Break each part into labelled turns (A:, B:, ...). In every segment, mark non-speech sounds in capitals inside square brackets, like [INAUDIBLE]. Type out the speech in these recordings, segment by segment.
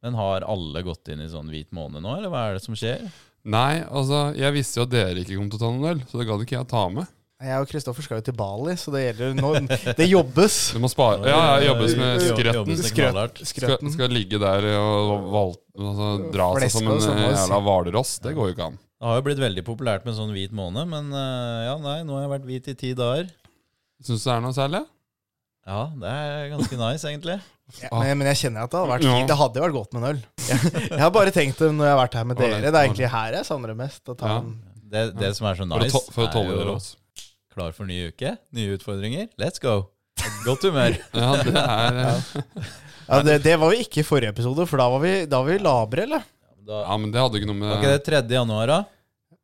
A: Men har alle gått inn i sånn hvit måned nå, eller hva er det som skjer?
B: Nei, altså, jeg visste jo at dere ikke kom til å ta noen øl, så det gadd ikke jeg ta med.
C: Jeg og Kristoffer skal jo til Bali, så det gjelder nå. Det jobbes.
B: Du må spare Ja, ja, jobbes med
A: Jo-
B: skretten.
A: jobbes med
C: Skrøt-
A: knallhardt.
B: Skal,
C: Skrøten.
B: skal ligge der og val, altså, dra seg som
C: Fleske og
B: en
C: sånn, altså.
B: jævla hvalross. Det går jo ikke an.
A: Det har jo blitt veldig populært med sånn hvit måned, men eh, ja, nei, nå har jeg vært hvit i ti dager.
B: Syns du det er noe særlig?
A: Ja, det er ganske nice, egentlig.
C: Ja, men, men jeg kjenner at det hadde vært
B: Ja.
C: fint. Det hadde jo vært godt med en øl. Jeg, jeg har bare tenkt det når jeg har vært her med
B: Ålreit,
C: dere. Det er egentlig her jeg savner det mest. Å ta
B: Ja.
C: en
A: Det, det som er så
B: For å
A: nice,
B: to- for å
A: er
B: tolerere
A: jo
B: oss.
A: klar for ny uke, nye utfordringer. Let's go! Godt humør.
B: [LAUGHS] Ja, det er eh,
C: Ja, det, det var jo ikke i forrige episode, for da var vi, da var vi labre, eller?
A: Da,
B: Ja, men det hadde ikke noe
A: var
B: med
A: ikke det 3. januar, da?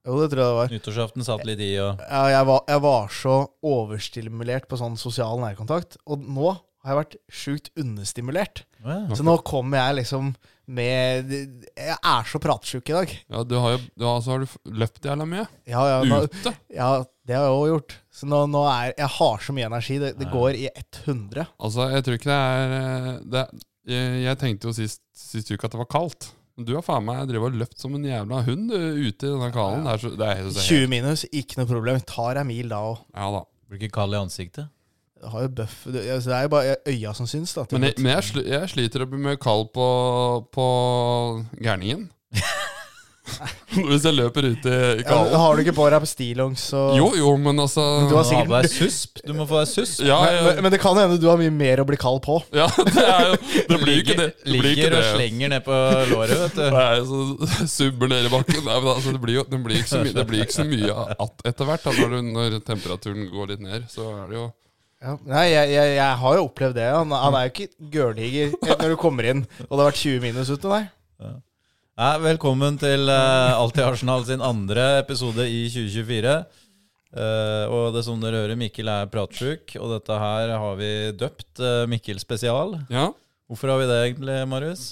C: Jo, det tror jeg det var.
A: Nyttårsaften satt litt i, og
C: Ja, jeg, var jeg var så overstimulert på sånn sosial nærkontakt, og nå har jeg vært sjukt understimulert.
A: Å ja.
C: Så nå kommer jeg liksom med Jeg er så pratsjuk i dag.
B: Ja, du har jo du har, så har du f- løpt jævla mye.
C: Ja, ja, nå,
B: Ute.
C: ja det har jeg òg gjort. Så nå, nå er Jeg har så mye energi. Det, det går i 100.
B: Altså, jeg tror ikke det er eh, det, jeg, jeg tenkte jo sist, sist uke at det var kaldt. Men du har faen meg drevet og løpt som en jævla hund du, ute i denne kanalen. Det er så, det er, så,
C: 20 minus, ikke noe problem. Tar ei mil da og
B: Ja da.
A: blir ikke kald i ansiktet.
C: har jo bøff Det altså, det er jo bare øya som syns, da. til
B: Men jeg,
C: slutt.
B: men jeg, sli- jeg sliter med kald på, på
C: [LAUGHS]
B: gærningen. Hvis jeg løper ute i
C: ja, men
B: kallen.
C: har du ikke på deg stillongs og
B: Jo, jo, men altså
C: Du
A: Du må ha
C: har sikkert
A: på deg susp. Du må få deg susp.
B: Ja,
C: men,
B: ja,
C: men, men det kan hende du har mye mer å bli kald på.
B: ja [LAUGHS] det, er, jo- det blir jo ikke det. det, blir jo ikke
A: Ligger og
B: det.
A: slenger ned på låret, vet du.
B: Nei, så [LAUGHS] subber ned i bakken. Nei, men altså, det, blir jo, det, blir ikke så mye, det blir ikke så mye att etter hvert. Da, når, du, når temperaturen går litt ned, så er det jo
C: Ja. Nei, jeg, jeg, jeg har jo opplevd det. Han, han er jo ikke gørrdiger når du kommer inn, og det har vært 20 minus ute. Nei.
A: Nei, velkommen til uh, Alltid Arsenal sin andre episode i 2024. Eh, og det som dere hører, Mikkel er pratsjuk, og dette her har vi døpt eh, Mikkel spesial.
B: Ja.
A: Hvorfor har vi det egentlig, Marius?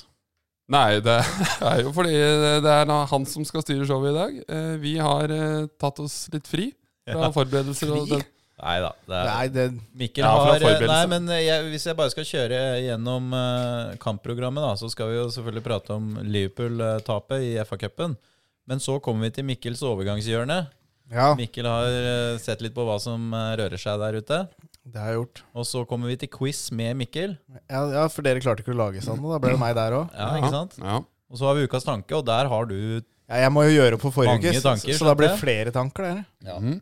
B: Nei, det [LAUGHS] er jo fordi det er da han som skal styre showet i dag. Eh, Vi har eh, tatt oss litt fri fra forberedelser. Og
C: Fri?
B: den.
A: Nei da. Det er,
C: Nei, det,
A: Mikkel
B: Ja, for
A: har eh,
B: det er forberedelse.
A: Nei, men jeg, hvis jeg bare skal kjøre gjennom eh, kampprogrammet, da, så skal vi jo selvfølgelig prate om Liverpool-tapet i FA-cupen. Men så kommer vi til Mikkels overgangshjørne.
C: ja,
A: Mikkel har eh, sett litt på hva som eh, rører seg der ute.
C: det har jeg gjort.
A: Og så kommer vi til quiz med Mikkel.
C: Ja, ja, for dere klarte ikke å lage sånn, og da ble det meg der òg.
A: Ja, ikke sant?
B: Ja.
A: Og så har vi ukas tanke, og der har du [CLEARS THROAT]
C: Ja, jeg må jo gjøre opp for forrige
A: Mange
C: uke, så,
A: tanker,
C: så da blir
A: skjønte
C: det flere tanker. Dere.
B: Mhm.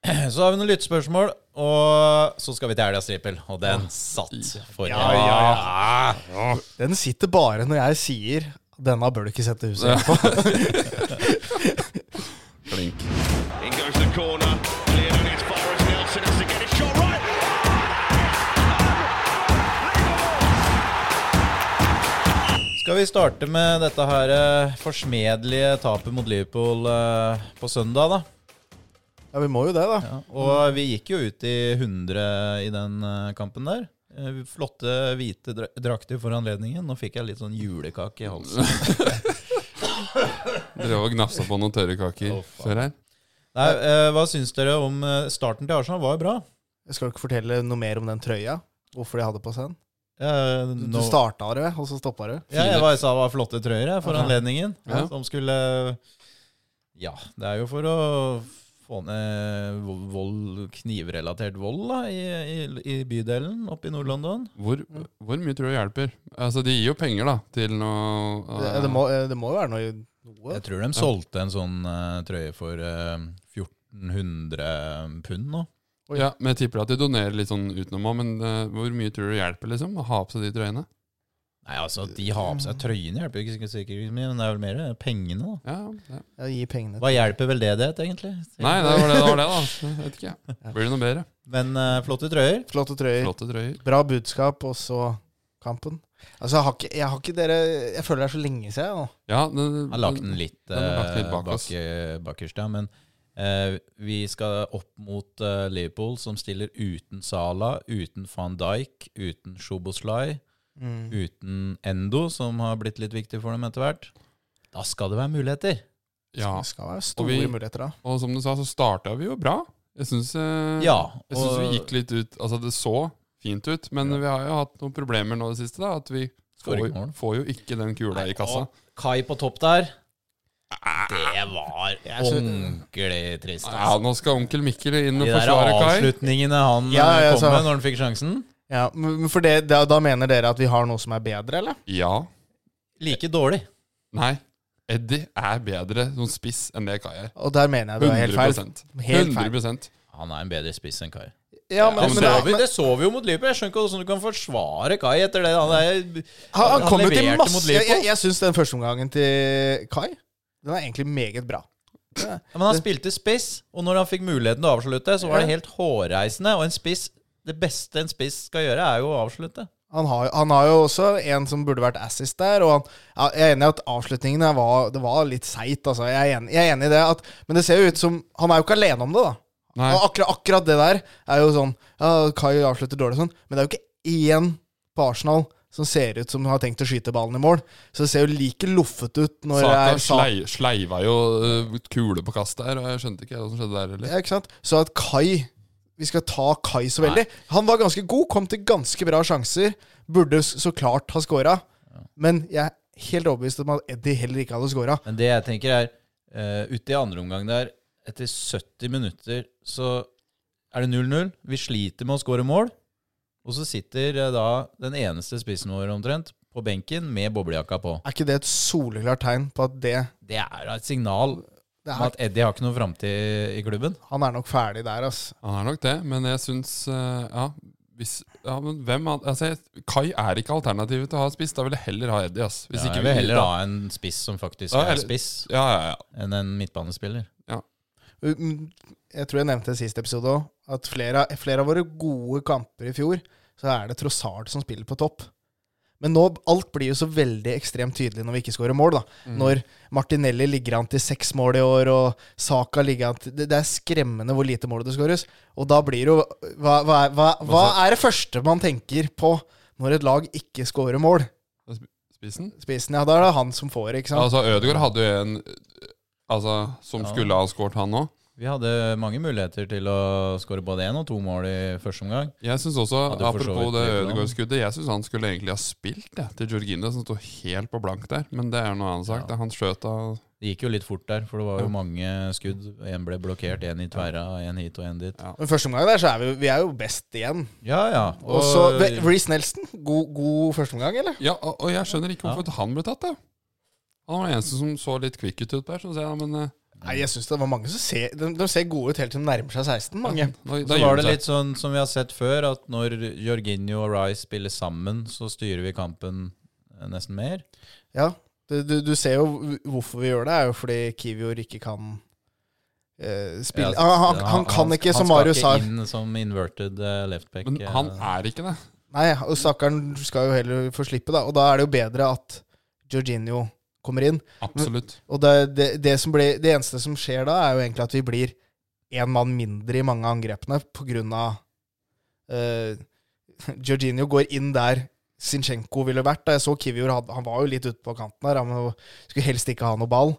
A: Så har vi noen lyttespørsmål, og så skal vi til helgas trippel. Og den satt forrige
C: Ja, Den sitter bare når jeg sier 'denne bør du ikke sette huset igjen på'.
B: Flink.
D: In goes the corner. Cleared on its far as Nelson has to get it shot right.
A: Skal vi starte med dette her eh, forsmedelige tapet mot Liverpool eh, på søndag, da?
C: Ja, Mm. vi må jo det, da.
A: Og vi gikk jo ut i 100 i den eh, kampen der. Eh, Flotte hvite dra- drakter for anledningen. Nå fikk jeg litt sånn julekake i halsen.
C: [LAUGHS]
B: Drev og gnafsa på noen tørre kaker
A: Å, faen.
B: før her.
A: Nei, eh, hva syns dere om eh, starten til Arsenal? Var jo bra.
C: Jeg skal ikke fortelle noe mer om den trøya. Hvorfor de hadde på seg den.
A: Eh,
C: Du,
A: nå-
C: du starta det, og så stoppa det.
A: Ja, jeg var, sa det var flotte trøyer jeg, for
C: Ja.
A: anledningen.
B: Ja.
A: Som skulle Ja, det er jo for å få ned vo- vold, knivrelatert vold da, i, i, i bydelen oppe i Nord-London.
B: Hvor, hvor mye tror du hjelper? Altså, De gir jo penger, da, til noe
C: Det,
B: eh,
C: det, må, det må jo være noe, noe.
A: Jeg tror de solgte en sånn eh, trøye for eh, 1400 pund nå.
C: Oi.
B: eh, Ja, men jeg tipper at de donerer litt sånn utenom òg, men eh, hvor mye tror du det hjelper liksom, å ha på seg de trøyene?
A: Nei, altså, at de har på seg trøyene, hjelper jo ikke sikkert mye, men det er vel mer eh, pengene, da.
B: Ja, ja.
C: Ja, gi pengene.
A: Hva hjelper veldedighet, egentlig?
B: Nei, det var det, det var det, da. Jeg vet ikke. jeg. Blir det noe bedre?
A: Men eh, flotte trøyer.
C: Flotte trøyer.
B: Flotte trøyer.
C: Bra budskap, og så kampen. Altså, jeg har ikke, jeg har ikke dere Jeg føler det er så lenge siden. nå.
B: Ja, den, den,
A: Jeg har lagt den litt,
B: den har lagt litt
A: eh,
B: bak
A: bak
B: oss.
A: bakerst, ja. Men eh, vi skal opp mot eh, Liverpool, som stiller uten Sala, uten van Dijk, uten Szoboslai,
C: Mm.
A: uten Endo, som har blitt litt viktig for dem etter hvert. Da skal det være muligheter!
B: ja.
C: Det skal være store
B: Og vi-
C: muligheter da.
B: Og som du sa, så starta vi jo bra. Jeg syns
A: Ja.
B: Jeg synes vi
A: og-
B: gikk litt ut Altså, det så fint ut, men vi har jo hatt noen problemer nå i det siste, da. At vi Får,
A: Skåring i morgen.
B: får jo ikke den kula i kassa. Ah.
A: Og Kai på topp der. Det var ordentlig trist.
B: Ja,
A: ass.
B: nå skal onkel Mikkel inn og
A: De der
B: forsvare Kai.
A: avslutningene han
C: Ja,
A: eh,
C: ja,
A: kom
C: så-
A: med når han fikk sjansen.
C: Ja, men men for det, da, da mener dere at vi har noe som er bedre, eller?
B: Ja.
A: Like dårlig.
B: Nei. Eddie er bedre som spiss enn det Kai er.
C: Og der mener jeg du er helt
B: 100
C: feil. Helt feil.
B: 100
A: Han er en bedre spiss enn Kai.
C: Ja, men,
B: Ja,
A: Det
B: men
C: men,
A: så
B: det-
A: vi,
C: men,
A: det så vi jo mot Liverpool. Jeg skjønner ikke hvordan du kan forsvare Kai etter det. Han, er,
C: han, han kom jo til
A: leverte mot
C: masse Jeg,
A: Liverpool.
C: jeg, jeg syns den første omgangen til Kai, den er egentlig meget bra.
A: Ja, Men han spilte spiss, og når han fikk muligheten til å avslutte, så var det
C: Ja.
A: helt hårreisende. Og en spiss Det beste en spiss skal gjøre, er jo å avslutte.
C: Han har, jo- han har jo også en som burde vært assist der. Og han, ja, jeg er enig i at avslutningene var, det var litt seigt. Altså. Jeg, er enig- jeg er enig i det. At, men det ser jo ut som Han er jo ikke alene om det, da.
B: Nei.
C: Og akkurat, akkurat det der er jo sånn ja, Kai avslutter dårlig og sånn, men det er jo ikke én på Arsenal som ser ut som har tenkt å skyte ballen i mål. Så det ser jo like loffet ut når det
B: Saka
C: er Sa-
B: slei, sleiva jo øh, kule på kast der, og jeg skjønte ikke hva som skjedde der heller.
C: Ja, ikke sant? Så at Kai Vi skal ta Kai så veldig. Han var ganske god, kom til ganske bra sjanser. Burde s- så klart ha scora. Men jeg er helt overbevist om at Eddie heller ikke hadde scora.
A: Men det jeg tenker er eh, Ute i andre omgang der, etter 70 minutter, så er det 0-0. Vi sliter med å skåre mål. Og så sitter eh, da den eneste spissen vår omtrent på benken med boblejakka på.
C: Er ikke det et soleklart tegn på at det,
A: Det er da et signal
C: det
A: om
C: er,
A: at Eddie har ikke noen framtid i klubben.
C: han er nok ferdig der, altså?
B: Han er nok det, men jeg syns øh, Ja, hvis Ja, men hvem an- Altså, jeg, Kai er ikke alternativet til å ha spiss. Da vil jeg heller ha Eddie, ass. Hvis
A: Ja,
B: ikke
A: jeg vil heller ha en spiss som faktisk
B: Ja,
A: er
B: eller-
A: spiss,
B: Ja, ja, ja.
A: enn en midtbanespiller.
C: Mm, Jeg tror jeg nevnte det i siste episode òg, at flere, av- flere av våre gode kamper i fjor, så er det Trossard som spiller på topp. Men nå, alt blir jo så veldig ekstremt tydelig når vi ikke skårer mål. da. Når Martinelli ligger an til seks mål i år, og Saka ligger an til Det, det er skremmende hvor lite mål det skåres. Og da blir det jo hva, hva, er- hva, hva er det første man tenker på når et lag ikke scorer mål?
B: Spissen?
C: Spissen, ja, da er det han som får, ikke sant?
B: Altså, Ødegaard hadde jo en Altså, som
A: Ja.
B: skulle ha skåret, han òg.
A: Vi hadde mange muligheter til å skåre både én og to mål i første omgang.
B: Jeg synes også,
A: Hadde jo for så
B: Apropos
A: vidt
B: det
A: litt bra.
B: Ødegaard-skuddet, jeg syns han skulle egentlig ha spilt det, til Georgina, som står helt på blank der. Men det er noe annet sak.
A: Ja.
B: Det er Han skjøt av
A: Det gikk jo litt fort der, for det var
B: Ja.
A: jo mange skudd. Én ble blokkert, én i tverra, én hit og én dit.
C: Men første omgang der, så er vi, jo- vi er jo best igjen.
A: Ja, ja.
C: Og så Reece Nelson. God, god førsteomgang, eller?
B: Ja, og, og jeg skjønner ikke hvorfor han ble tatt, da. Han var den eneste som så litt kvikk ut der. Så sier jeg, men eh,
C: Nei, jeg synes det var mange som ser De, de ser gode ut helt til de nærmer seg 16, mange.
B: da, da
A: så
B: gir
A: var det
B: seg.
A: litt sånn som vi har sett før, at når Jorginho og Rice spiller sammen, så styrer vi kampen eh, nesten mer.
C: Ja. Du, du, du ser jo hvorfor vi gjør det, er jo fordi Kivior ikke kan eh, spille
A: Ja,
C: han, han, han kan ikke, som Marius sa.
A: Han skal ikke inn som inverted eh, left back.
B: Men han
A: eh.
B: er ikke det.
C: Nei, og stakkaren skal jo heller få slippe, da. Og da er det jo bedre at Jorginho kommer inn.
B: Absolutt.
C: Og det, det, det, som blir, det eneste som skjer da, er jo egentlig at vi blir én mann mindre i mange av angrepene på grunn av eh, Jorginho går inn der Sinchenko ville vært. Da jeg så Kivior, han, han var jo litt ute på kanten her. Han skulle helst ikke ha noe ball.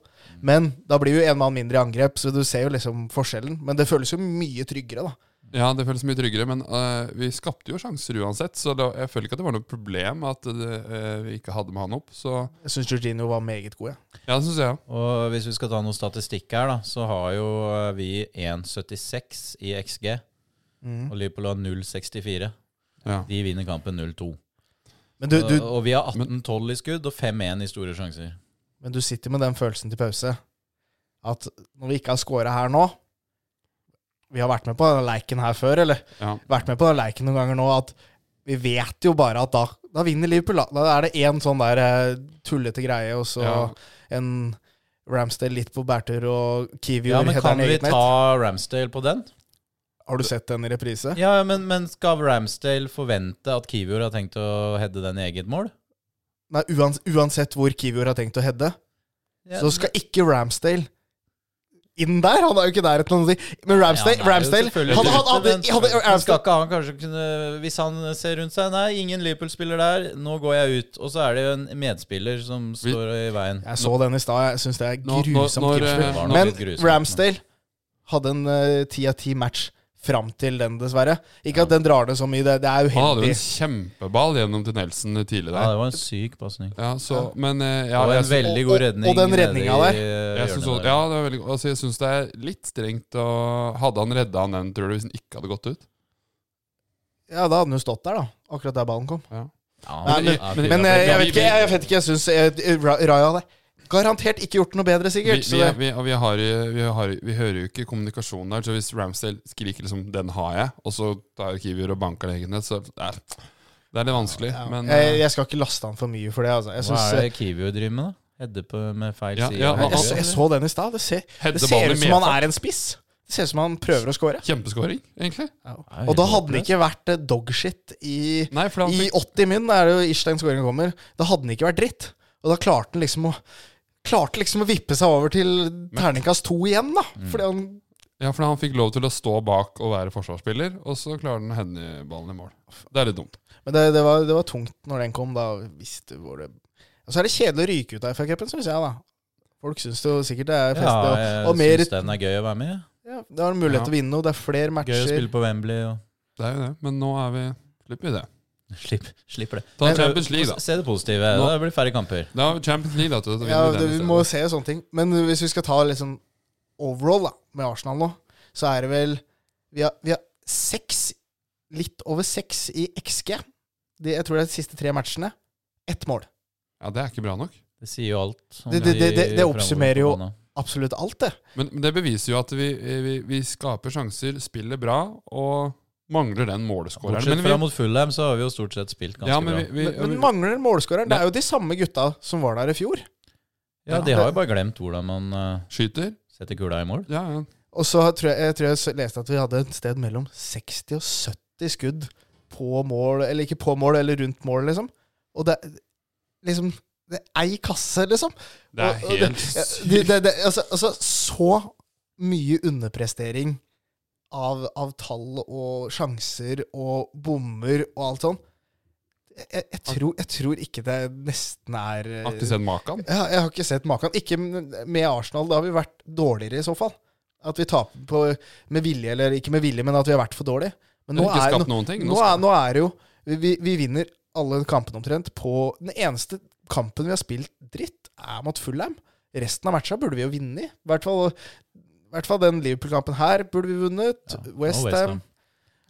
C: Men da blir jo én mann mindre i angrep, så du ser jo liksom forskjellen. Men det føles jo mye tryggere, da.
B: Ja, det føles mye tryggere, men eh, vi skapte jo sjanser uansett. Så da, jeg føler ikke at det var noe problem at det, eh, vi ikke hadde med han opp. Så
C: Jeg syns Jorginho var meget god, jeg.
B: ja, det syns jeg.
A: Og hvis vi skal ta noe statistikk her, da, så har jo eh, vi 1,76 i XG,
C: Mm.
A: og Liverpool har 0,64.
B: Ja.
A: De vinner kampen 0-2.
C: Men du,
A: Og-
C: du,
A: og vi har 18-12 i skudd og 5-1 i store sjanser.
C: men du sitter med den følelsen til pause at når vi ikke har scora her nå Vi har vært med på den leiken her før, eller?
B: Ja.
C: vært med på den leiken noen ganger nå, at vi vet jo bare at da, da vinner Liverpool. Da, da er det én sånn der eh, tullete greie, og så
B: Ja.
C: en Ramsdale litt på bærtur, og Kiwi
A: Ja, men
C: heter
A: Kan
C: han
A: vi
C: eget nett.
A: ta Ramsdale på den?
C: Har du sett den i reprise?
A: Ja, ja, men, men Skal Ramsdale forvente at Kivior har tenkt å heade den i eget mål?
C: Nei, uans uansett hvor Kiwi har tenkt å heade,
A: Ja,
C: så skal ikke Ramsdale inn der! Han er jo ikke der etter noe å si. Men Ramsdale,
A: Ja, han er jo
C: Ramsdale
A: selvfølgelig
C: han, han,
A: ute,
C: hadde,
A: men-
C: hadde,
A: men Skal
C: Ramsdale,
A: ikke han kanskje kunne Hvis han ser rundt seg Nei, ingen Liverpool-spiller der, nå går jeg ut. Og så er det jo en medspiller som står i veien.
C: Jeg så den i stad, jeg syns det er
B: Nå- nå-
C: grusomt
B: når, eh,
C: tilslutt.
A: Det var nok
C: Men
A: litt grusomt, men-
C: Ramsdale hadde en eh, ti av ti match. fram til den, dessverre. Ikke at den drar det så mye, det, det
B: Han hadde
C: er
B: jo
C: uheldig.
B: en kjempeball gjennom til Nelson tidlig
A: Ja,
B: der.
A: det var en syk pasning.
B: Ja, så, men eh, ja,
A: Det var
B: jeg
A: en
B: sy-
A: veldig
C: og-
A: god
C: og-
A: redning.
C: og den
A: nede
C: redninga
A: i, eh,
C: der.
B: jeg
A: hjørnet
B: synes også,
A: der.
B: ja, det, er veldig, altså, jeg synes det er litt strengt. å- hadde han redda han den, tror du, hvis han ikke hadde gått ut?
C: Ja, da hadde den jo stått der, da. Akkurat der ballen kom.
A: Ja,
C: Nei, men-
A: ja,
B: men-
A: fy,
C: Men
B: Ja,
C: eh,
B: for- ja,
C: jeg
B: vi-
C: vet ikke, jeg, vet ikke, jeg syns eh, Ra- Raja hadde garantert ikke gjort noe bedre,
B: Vi,
C: sikkert.
B: vi,
C: Så det,
B: vi, og vi, har, vi, har, vi hører jo ikke kommunikasjonen der, så hvis Ramsdale skriker liksom 'den har jeg', og så tar Kiwier og banker det egentlig, så eh, det er litt vanskelig.
C: ja.
B: Men,
C: jeg,
B: eh,
C: jeg skal ikke laste han for mye for det, altså. Jeg,
A: Hva
C: synes,
A: er det Kiwi driver med, da? Hedde på med feil
B: Ja,
A: side.
B: ja,
A: og
C: eh,
A: høyre.
B: han-
C: jeg, så- jeg så den i stad. Det ser,
B: Hedde
C: det ser
B: ballen i
C: ut som han
B: medfart.
C: er en spiss. Det ser ut som han prøver å score.
B: Kjempeskåring, egentlig.
A: Nei,
C: Og da
A: helt
C: hadde det
A: håpløst.
C: ikke vært eh, dogshit i
B: Nei, for han
C: I
B: fikk,
C: 80 min da er det jo Ishlein skåringen kommer. Da hadde den ikke vært dritt. Og da klarte den liksom å Klarte liksom å vippe seg over til terningkast to igjen, da.
A: Mm.
C: Fordi han
B: ja, for han fikk lov til å stå bak og være forsvarsspiller, og så klarer han å hende ballen i mål. Det er litt dumt.
C: Men det, det, var, det var tungt når den kom, da. Hvis det var det Og så er det kjedelig å ryke ut av FA-cupen, syns jeg, da. Folk syns jo sikkert det er fest.
A: Ja,
C: og,
A: jeg
C: og mer,
A: syns den er gøy å være med i.
C: ja, det er en mulighet
B: Ja.
C: til å vinne noe. Det er
A: Gøy
C: flere
A: å
C: matcher.
A: spille på Wembley og [LAUGHS]
B: Det er jo det, men nå er vi Slipper vi det.
A: Slipp, slipper det.
B: Ta
A: Men-
B: Champions League,
C: eh,
B: da.
A: Se det positive.
B: Nå-
A: Da blir det færre kamper.
B: Da har vi Champions League, da. til å vinne
C: Ja,
B: den
C: det, vi
B: isteden.
C: må jo se sånne ting. Men hvis vi skal ta litt sånn overall da, med Arsenal nå, så er det vel Vi har, vi har seks Litt over seks i XG. Det, jeg tror det er de siste tre matchene. Ett mål.
B: ja, det er ikke bra nok.
A: Det sier jo alt. om
C: Det- det-
A: de
C: det- det- det
A: framover på
C: oppsummerer jo-
A: banen.
C: Absolutt alt, det.
B: Men men det beviser jo at vi, vi, vi skaper sjanser, spiller bra og mangler den måleskåreren.
A: Bortsett
B: Men
A: fra
B: vi,
A: mot Fulham, så har vi jo stort sett spilt ganske
B: ja, men vi,
A: bra.
B: vi,
C: Men, men
B: vi,
C: mangler målskåreren. Det er jo de samme gutta som var der i fjor.
A: Ja, De har jo bare glemt hvordan man eh,
B: skyter.
A: setter kula i mål.
B: Ja, ja.
C: Og så tror jeg jeg, tror jeg s- leste at vi hadde et sted mellom 60 og 70 skudd på mål, eller ikke på mål, eller rundt mål, liksom. Og det er liksom Det er ei kasse, liksom.
B: Det er
C: Og- og
B: helt
C: ja,
B: sykt.
C: det, det, det, altså, altså, så mye underprestering av, av tall og sjanser og bommer og alt sånn. Jeg, jeg, jeg, tror, jeg tror ikke det nesten er eh,
B: Har ikke sett maken.
C: ja, jeg har ikke sett maken. Ikke med Arsenal. Da har vi vært dårligere, i så fall. At vi taper på, med vilje, eller ikke med vilje, men at vi har vært for dårlige. Men nå
B: ikke
C: er,
B: skapt
C: nå,
B: noen ting.
C: nå er, nå er det jo vi, vi vinner alle kampene omtrent på Den eneste kampen vi har spilt dritt, er mot Fulham. Resten av matcha burde vi jo vinne i. I hvert fall, i hvert fall den Liverpool-kampen her burde vi vunnet.
A: Ja, og
C: West
A: West
C: Ham.
A: Ham.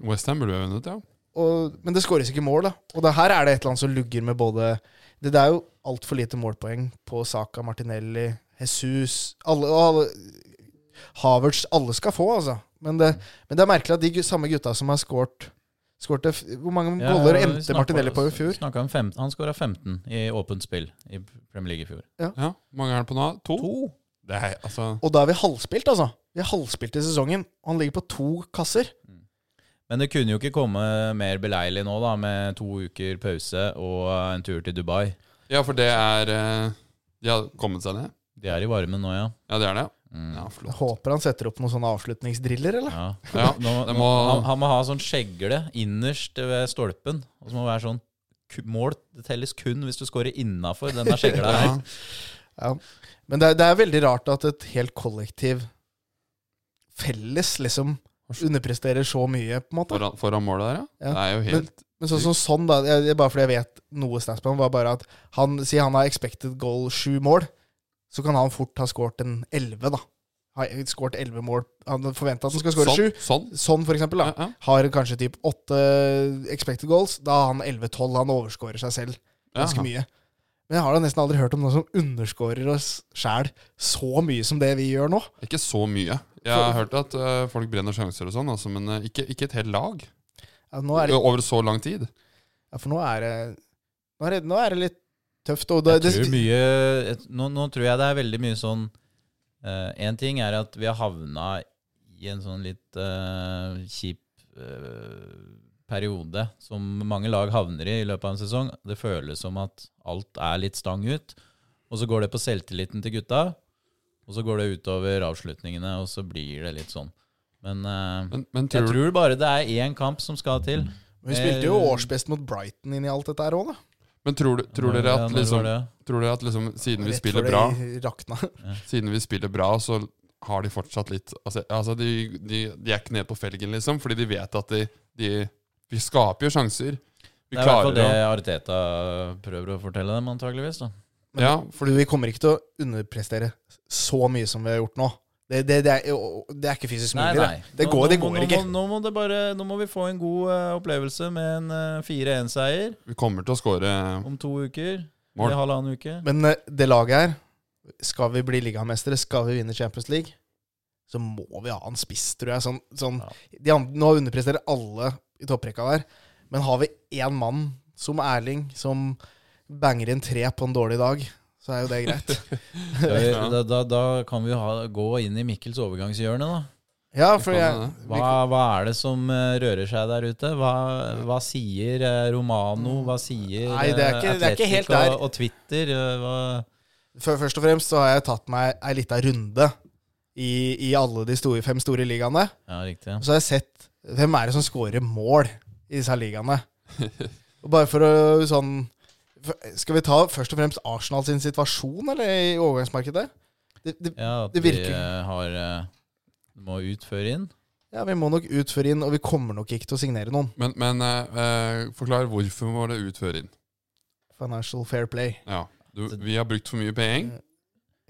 B: Westham burde vi ha vunnet, ja.
C: Og, men det skåres ikke mål, da. Og det her er det et eller annet som lugger med både Det, det er jo altfor lite målpoeng på Saka, Martinelli, Jesus alle, og alle, Havertz Alle skal få, altså. Men det, men det er merkelig at de gu- samme gutta som har skåret skårte, f- Hvor mange
A: Ja,
C: boller
A: vi
C: endte
A: snakket-
C: Martinelli på i fjor?
A: snakket om fem- Han skåra 15 i åpent spill i Premier League i fjor.
B: ja. Mange er det på nå? To? Det er, altså,
C: Og da er vi halvspilt, altså. Vi er halvspilt i sesongen. Og han ligger på to kasser.
A: Men det kunne jo ikke komme mer beleilig nå, da, med to uker pause og en tur til Dubai.
B: ja, for det er eh, De har kommet seg ned?
A: De er i varmen nå, ja.
B: Ja, det er det.
A: Mm.
B: Ja,
C: Jeg
B: flott.
C: håper han setter opp noen sånne avslutningsdriller, eller?
A: Ja.
B: Ja,
A: Nå,
B: det
A: må,
B: må-
A: han, han må ha sånn skjegle innerst ved stolpen. Og så må det være sånn ku- Mål det telles kun hvis du scorer innafor denne skjegla [LAUGHS] her.
B: Ja.
C: Ja. Men det er, det er veldig rart at et helt kollektiv felles liksom underpresterer så mye, på en måte.
B: Foran, foran målet der, ja.
C: Ja.
B: Det er jo helt
C: Men sånn som sånn, da, jeg, jeg- bare fordi jeg vet noe snaps på ham, var bare at han sier han har expected goal sju mål, så kan han fort ha skåret en elleve, da. Har skåret elleve mål. Han forventa at han skal skåre sju.
B: Sånn. sånn.
C: Sånn, for eksempel, da.
B: Ja, ja.
C: Har kanskje typ åtte expected goals. Da har han 11-12. Han overskårer seg selv ganske
B: Ja.
C: mye. Men jeg har da nesten aldri hørt om noen som underskårer oss sjæl så mye som det vi gjør nå.
B: Ikke så mye. Jeg har hørt at eh, folk brenner sjanser og sånn, altså, men eh, ikke, ikke et helt lag.
C: Ja, nå er det,
B: Over så lang tid.
C: ja, for nå er det, nå er det, nå er det litt tøft. Og det,
A: Jeg tror mye, jeg- nå, nå tror jeg det er veldig mye sånn Én ting er at vi har havna i en sånn litt eh, kjip eh, periode som mange lag havner i i løpet av en sesong. Det føles som at alt er litt stang ut. Og så går det på selvtilliten til gutta, og så går det utover avslutningene, og så blir det litt sånn. Men, eh,
B: Men, men
A: jeg
B: tror, du-
A: tror bare det er én kamp som skal til.
C: Men vi spilte jo årsbest mot Brighton inn i alt dette her òg, da.
B: men tror, du- tror dere
A: Ja,
B: at
A: eh, når var
B: liksom,
A: det?
B: tror dere at liksom siden vi
C: Rett
B: spiller
C: før
B: bra,
C: det Rakna. [LAUGHS]
B: siden vi spiller bra, så har de fortsatt litt Altså, altså de, de, de er ikke nede på felgen, liksom, fordi de vet at de, de Vi skaper jo sjanser. Vi
A: Det er i hvert
B: klarer
A: fall
B: det.
A: det Arteta prøver å fortelle dem, antageligvis. da.
B: Ja,
C: Fordi vi kommer ikke til å underprestere så mye som vi har gjort nå. Det, det, det, er, det er ikke fysisk
A: Nei,
C: mulig.
A: nei.
C: Det, det går, det
A: nå,
C: går
A: nå,
C: ikke.
A: Nå, nå, må det bare, nå må vi få en god eh, opplevelse med en eh, 4-1-seier
B: vi kommer til å skåre
A: om to uker.
B: Mål.
A: Eller halvannen uke.
C: [LAUGHS] Men eh, det laget her Skal vi bli ligamestere, skal vi vinne Champions League, så må vi ha en spiss, tror jeg. Sånn, sånn, de andre, nå underpresterer alle i topprekka der. Men har vi én mann som Erling, som banger inn tre på en dårlig dag, så er jo det greit.
A: Skal vi, da, da, da kan vi ha, gå inn i Mikkels overgangshjørne, da.
C: Ja, for
B: Sånn er
C: jeg,
B: det.
A: Hva, hva er det som eh, rører seg der ute? Hva, hva sier eh, Romano? Hva sier
C: Nei, det er
A: eh,
C: ikke- det er ikke helt
A: Atletico
C: der.
A: og, og Twitter? eh, Hva,
C: fø- først og fremst så har jeg tatt meg ei lita runde i, i alle de store, fem store ligaene.
A: ja, riktig.
C: Og så har jeg sett hvem er det som scorer mål i disse ligaene. Og bare for å sånn for- Skal vi ta først og fremst Arsenal sin situasjon eller i overgangsmarkedet? Det, det,
A: Ja, at
C: Det
A: vi
C: virker.
A: eh, har eh, må utføre inn.
C: ja, vi må nok ut før inn, og vi kommer nok ikke til å signere noen.
B: Men, men eh, eh, forklar hvorfor må det ut før inn.
C: Financial fair play.
B: Ja. Du, vi har brukt for mye penger.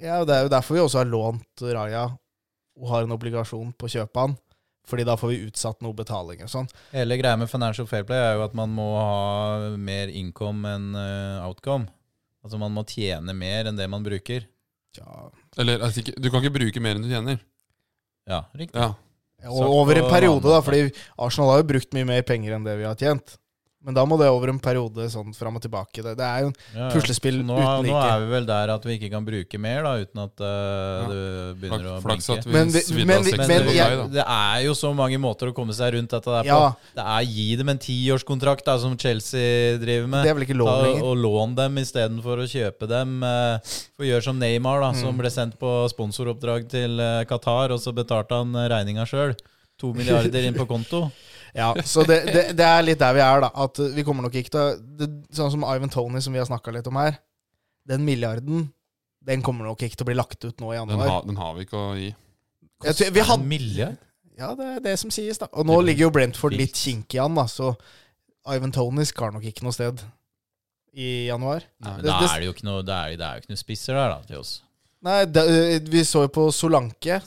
C: Ja, og Det er jo derfor vi også har lånt Raja og har en obligasjon på å kjøpe han. Fordi da får vi utsatt noe betaling og sånn.
A: Hele greia med financial fair play er jo at man må ha mer income enn eh, outcome. Altså man må tjene mer enn det man bruker.
C: Ja.
B: Eller altså, ikke, du kan ikke bruke mer enn du tjener.
A: Ja, riktig.
B: Ja.
C: Og
A: Sagt
C: over en
A: på
C: periode, da,
A: annen måte.
C: fordi Arsenal har jo brukt mye mer penger enn det vi har tjent. Men da må det over en periode sånn fram og tilbake. Det, det er jo en
A: Ja, ja.
C: puslespill
A: Så nå,
C: uten
A: nå
C: like.
A: er vi vel der at vi ikke kan bruke mer, da, uten at eh, det begynner å
B: Flaks,
A: blinke.
B: flaks at vi
C: Men vi-
B: svidde
C: men
B: av
C: vi-
B: 60
C: men
B: på
C: jeg-
B: deg, da.
A: det er jo så mange måter å komme seg rundt dette der på.
C: Ja.
A: Det er Gi dem en tiårskontrakt, da, som Chelsea driver med.
C: Det er vel ikke lov
A: Ta og-
C: lenger?
A: Og lån dem istedenfor å kjøpe dem. eh, For gjør som Neymar, da,
C: Mm.
A: som ble sendt på sponsoroppdrag til eh, Qatar, og så betalte han regninga sjøl.
C: [LAUGHS]
A: To milliarder inn på konto.
C: Ja, så det, det, det er litt der vi er, da. At uh, vi kommer nok ikke til å det, Sånn som Ivan Tony, som vi har snakka litt om her. Den milliarden, den kommer nok ikke til å bli lagt ut nå i
B: Den,
C: januar.
B: har- den har vi ikke å gi.
C: Jeg tror, vi
A: En
C: hadde,
A: milliard?
C: ja, det er det som sies, da. Og nå ligger jo Brentford litt kinkig an, da, så Ivan Tony skal nok ikke noe sted i januar.
A: Nei, men
C: Det-
A: da
C: det-
A: er det jo ikke noe, det er, det er jo ikke noe spisser der, da, til oss.
C: Nei, da, uh, vi så jo på Solanke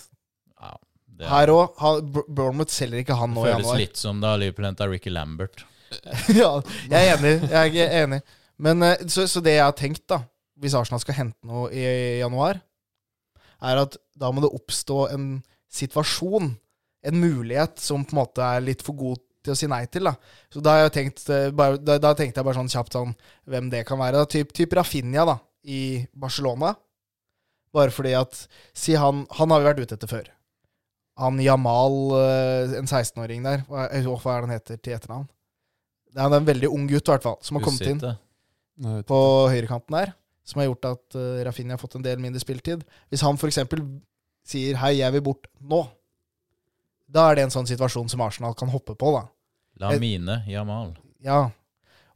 A: Ja, det
C: her òg. Bournemouth selger ikke han nå i
A: føles
C: januar.
A: litt som da Liverpool henta Ricky Lambert.
C: [LAUGHS] ja, jeg er enig. Jeg er enig. Men eh, så, så det jeg har tenkt, da, hvis Arsenal skal hente noe i, i januar, er at da må det oppstå en situasjon, en mulighet, som på en måte er litt for god til å si nei til. Da Så da har jeg tenkt eh, bare, da, da tenkte jeg bare sånn kjapt sånn hvem det kan være. da Typ, typ Rafinha da, i Barcelona. Bare fordi at Si han Han har vi vært ute etter før. Han Jamal, eh, en 16-åring der hva, eh, hva er det han heter til etternavn? Det er en veldig ung gutt, i hvert fall, som har kommet inn
A: Usite.
B: Nei, vet
C: på høyrekanten der, som har gjort at uh, Rafinha har fått en del mindre spilletid. Hvis han f.eks. sier 'hei, jeg vil bort nå', da er det en sånn situasjon som Arsenal kan hoppe på, da.
A: Lamine Jamal.
C: Ja.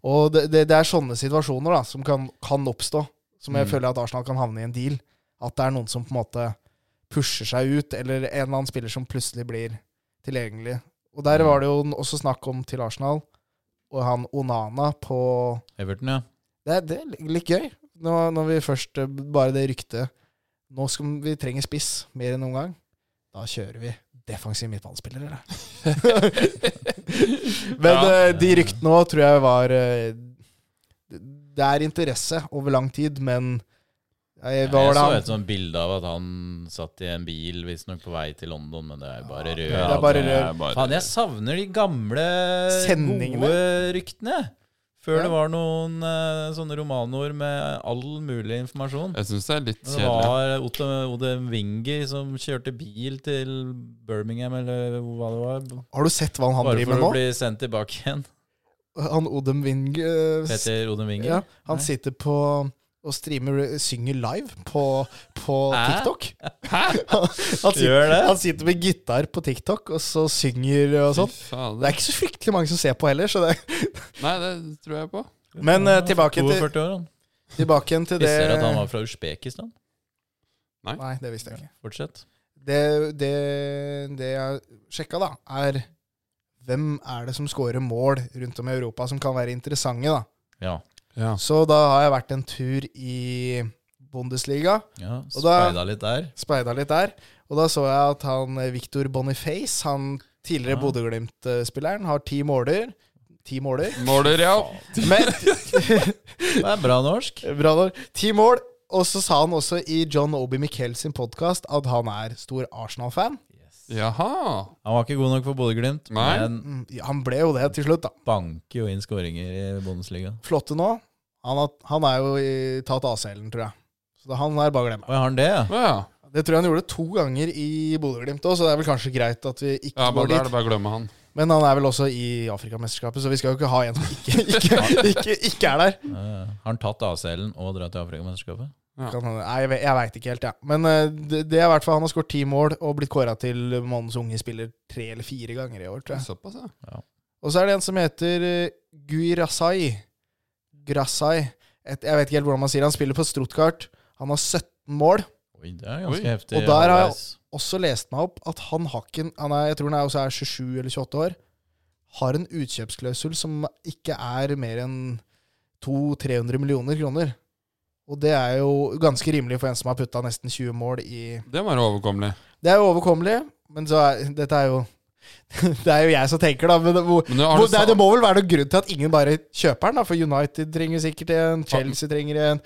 C: Og det, det, det er sånne situasjoner da, som kan, kan oppstå, som jeg
B: Mm.
C: føler at Arsenal kan havne i en deal. At det er noen som på en måte pusher seg ut, eller en eller annen spiller som plutselig blir tilgjengelig. Og der
A: Mm.
C: var det jo også snakk om til Arsenal, og han Onana på
A: Everton,
C: [LAUGHS]
A: ja.
C: det er, det er li- litt gøy. Nå, når vi først eh, Bare det ryktet Nå skal vi trenge spiss mer enn noen gang. Da kjører vi defensive midtbanespillere, da. [LAUGHS] Men eh, de ryktene òg tror jeg var eh, Det det er interesse over lang tid, men eh,
A: Jeg
C: Hva var det
A: så
C: han
A: et sånt bilde av at han satt i en bil, visstnok på vei til London, men det er jo bare rød.
C: det er bare
B: du.
C: rød.
B: Det er bare-
A: Faen, jeg savner de gamle,
C: Sendingene.
A: gode ryktene. Før
C: Ja.
A: det var noen eh, sånne romanord med all mulig informasjon.
B: Jeg syns det er litt
A: Det
B: kjedelig.
A: var Otto Ode Wingi som kjørte bil til Birmingham, eller hva det var.
C: Har du sett hva han
A: Bare
C: driver
A: for
C: med
A: å
C: nå?
A: bli sendt tilbake
C: [LAUGHS]
A: igjen.
C: Han Odem Wing eh, s-
A: Petter Ode Wingi.
C: ja, Han
A: Nei.
C: sitter på og streamer, eh, synger live på, på
A: Hæ?
C: TikTok.
A: Hæ?
C: Han sitter,
A: Gjør det?
C: han sitter med gitar på TikTok, og så synger og sånn.
B: Fy fader.
C: Det er ikke så fryktelig mange som ser på heller. Så det.
B: Nei, det tror jeg på.
C: Men eh, tilbake, til,
A: 42 år, han.
C: tilbake igjen til det
A: Visste dere at han var fra Usbekistan?
C: Nei, det visste jeg ikke.
A: Fortsett.
C: Det, det, det jeg sjekka, da, er hvem er det som scorer mål rundt om i Europa som kan være interessante, da.
A: Ja.
B: Ja.
C: Så da har jeg vært en tur i Bundesliga,
A: ja
C: Og da-
A: Speida litt der.
C: speida litt der, og da så jeg at han eh, Victor Boniface, han tidligere
A: Ja.
C: Bodø-Glimt-spilleren, har ti måler. Ti måler.
A: [LAUGHS]
B: Måler, ja.
C: Men
A: Det er bra norsk.
B: [LAUGHS]
C: Bra når. Ti mål. Og så sa han også i John Obi Miquel sin podkast at han er stor Arsenal-fan.
B: Jaha.
A: Han var ikke god nok for Bodø-Glimt,
B: Nei.
A: men
C: Mm, ja, Han ble jo det til slutt, da.
A: banker jo inn skåringer i Bundesliga.
C: Flotte nå. Han, har, han er jo i, tatt AC-en, tror jeg. Så det, han er bare å glemme.
A: Å, jeg har han det, ja?
B: Ja,
C: Det tror jeg han gjorde to ganger i Bodø-Glimt òg, så det er vel kanskje greit at vi ikke
B: ja
C: går
B: bare, da er
C: dit.
B: det bare å glemme han.
C: Men han er vel også i Afrikamesterskapet, så vi skal jo ikke ha en som
B: [LAUGHS]
C: ikke, ikke, ikke, ikke er der.
A: Ja, ja. Har han tatt ACL-en og dratt til Afrikamesterskapet?
C: Kan, hende. nei, jeg, vet- jeg veit ikke helt, jeg. Ja. Men eh, det, det er i hvert fall han har skåret ti mål og blitt kåra til mannens unge spiller tre eller fire ganger i år, tror jeg.
B: Såpass, ja.
C: Og så er det en som heter eh, Guirasai. Grasai. Et, jeg vet ikke helt hvordan man sier det. Han spiller på Stuttgart. Han har 17 mål.
A: Oi, det er
B: Oi.
A: ganske heftig.
C: Og der har jeg-
A: halvveis.
C: Også leste meg opp at han har ikke en- han er, Jeg tror han er også er 27 eller 28 år. Har en utkjøpsklausul som ikke er mer enn 200-300 millioner kroner. Og det er jo ganske rimelig for en som har putta nesten 20 mål i
B: Det må være overkommelig.
C: Det er jo overkommelig, men så er, dette er jo [LAUGHS] Det er jo jeg som tenker, da. Men det, hvor,
B: Men det, har
C: Hvor,
B: du
C: det,
B: sa-
C: det må vel være noen grunn til at ingen bare kjøper den, da, for United trenger sikkert en, Chelsea trenger en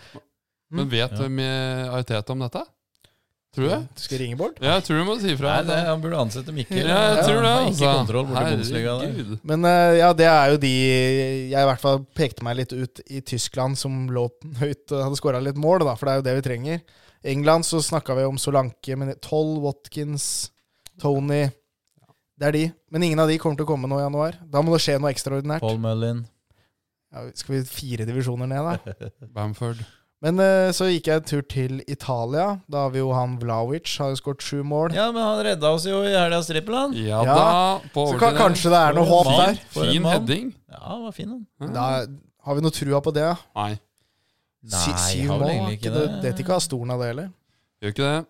B: men vet
A: Ja.
B: du med Ariteta om dette? Tror du det?
C: Du skal ringe bort.
B: Ja, jeg tror du må si ifra.
A: Nei, det, han burde ansette Mikkel.
B: ja, jeg tror
A: Han
B: det,
A: har
B: altså.
A: Ikke kontroll borti Bundesliga der.
B: Herregud.
C: Men eh, ja, det er jo de jeg i hvert fall pekte meg litt ut i Tyskland, som lå [LAUGHS] høyt og hadde skåra litt mål, da, for det er jo det vi trenger. I England så snakka vi om Solanke, men Toll, Watkins, Tony Det er de. Men ingen av de kommer til å komme nå i januar. Da må det skje noe ekstraordinært.
A: Paul Mullin.
C: Ja, skal vi fire divisjoner ned, da? [LAUGHS]
B: Bamford.
C: Men eh, så gikk jeg en tur til Italia. Da har vi jo han Vlaovic, har jo skåret sju mål.
A: Ja, men han redda oss jo i helgas trippel, han.
B: Ja,
C: Ja.
B: da. På
C: Så kan,
B: overtid.
C: kanskje det er noe
A: For
C: håp
A: en mann.
C: der.
A: For en
B: Fin
A: mann.
B: heading.
A: Ja, han var fin, han.
C: Da, har vi noe trua på det?
B: Nei,
C: Sy- syv
A: har vel
C: mål,
A: egentlig
C: er ikke det. Det er ikke av stolen av det heller.
B: gjør ikke det.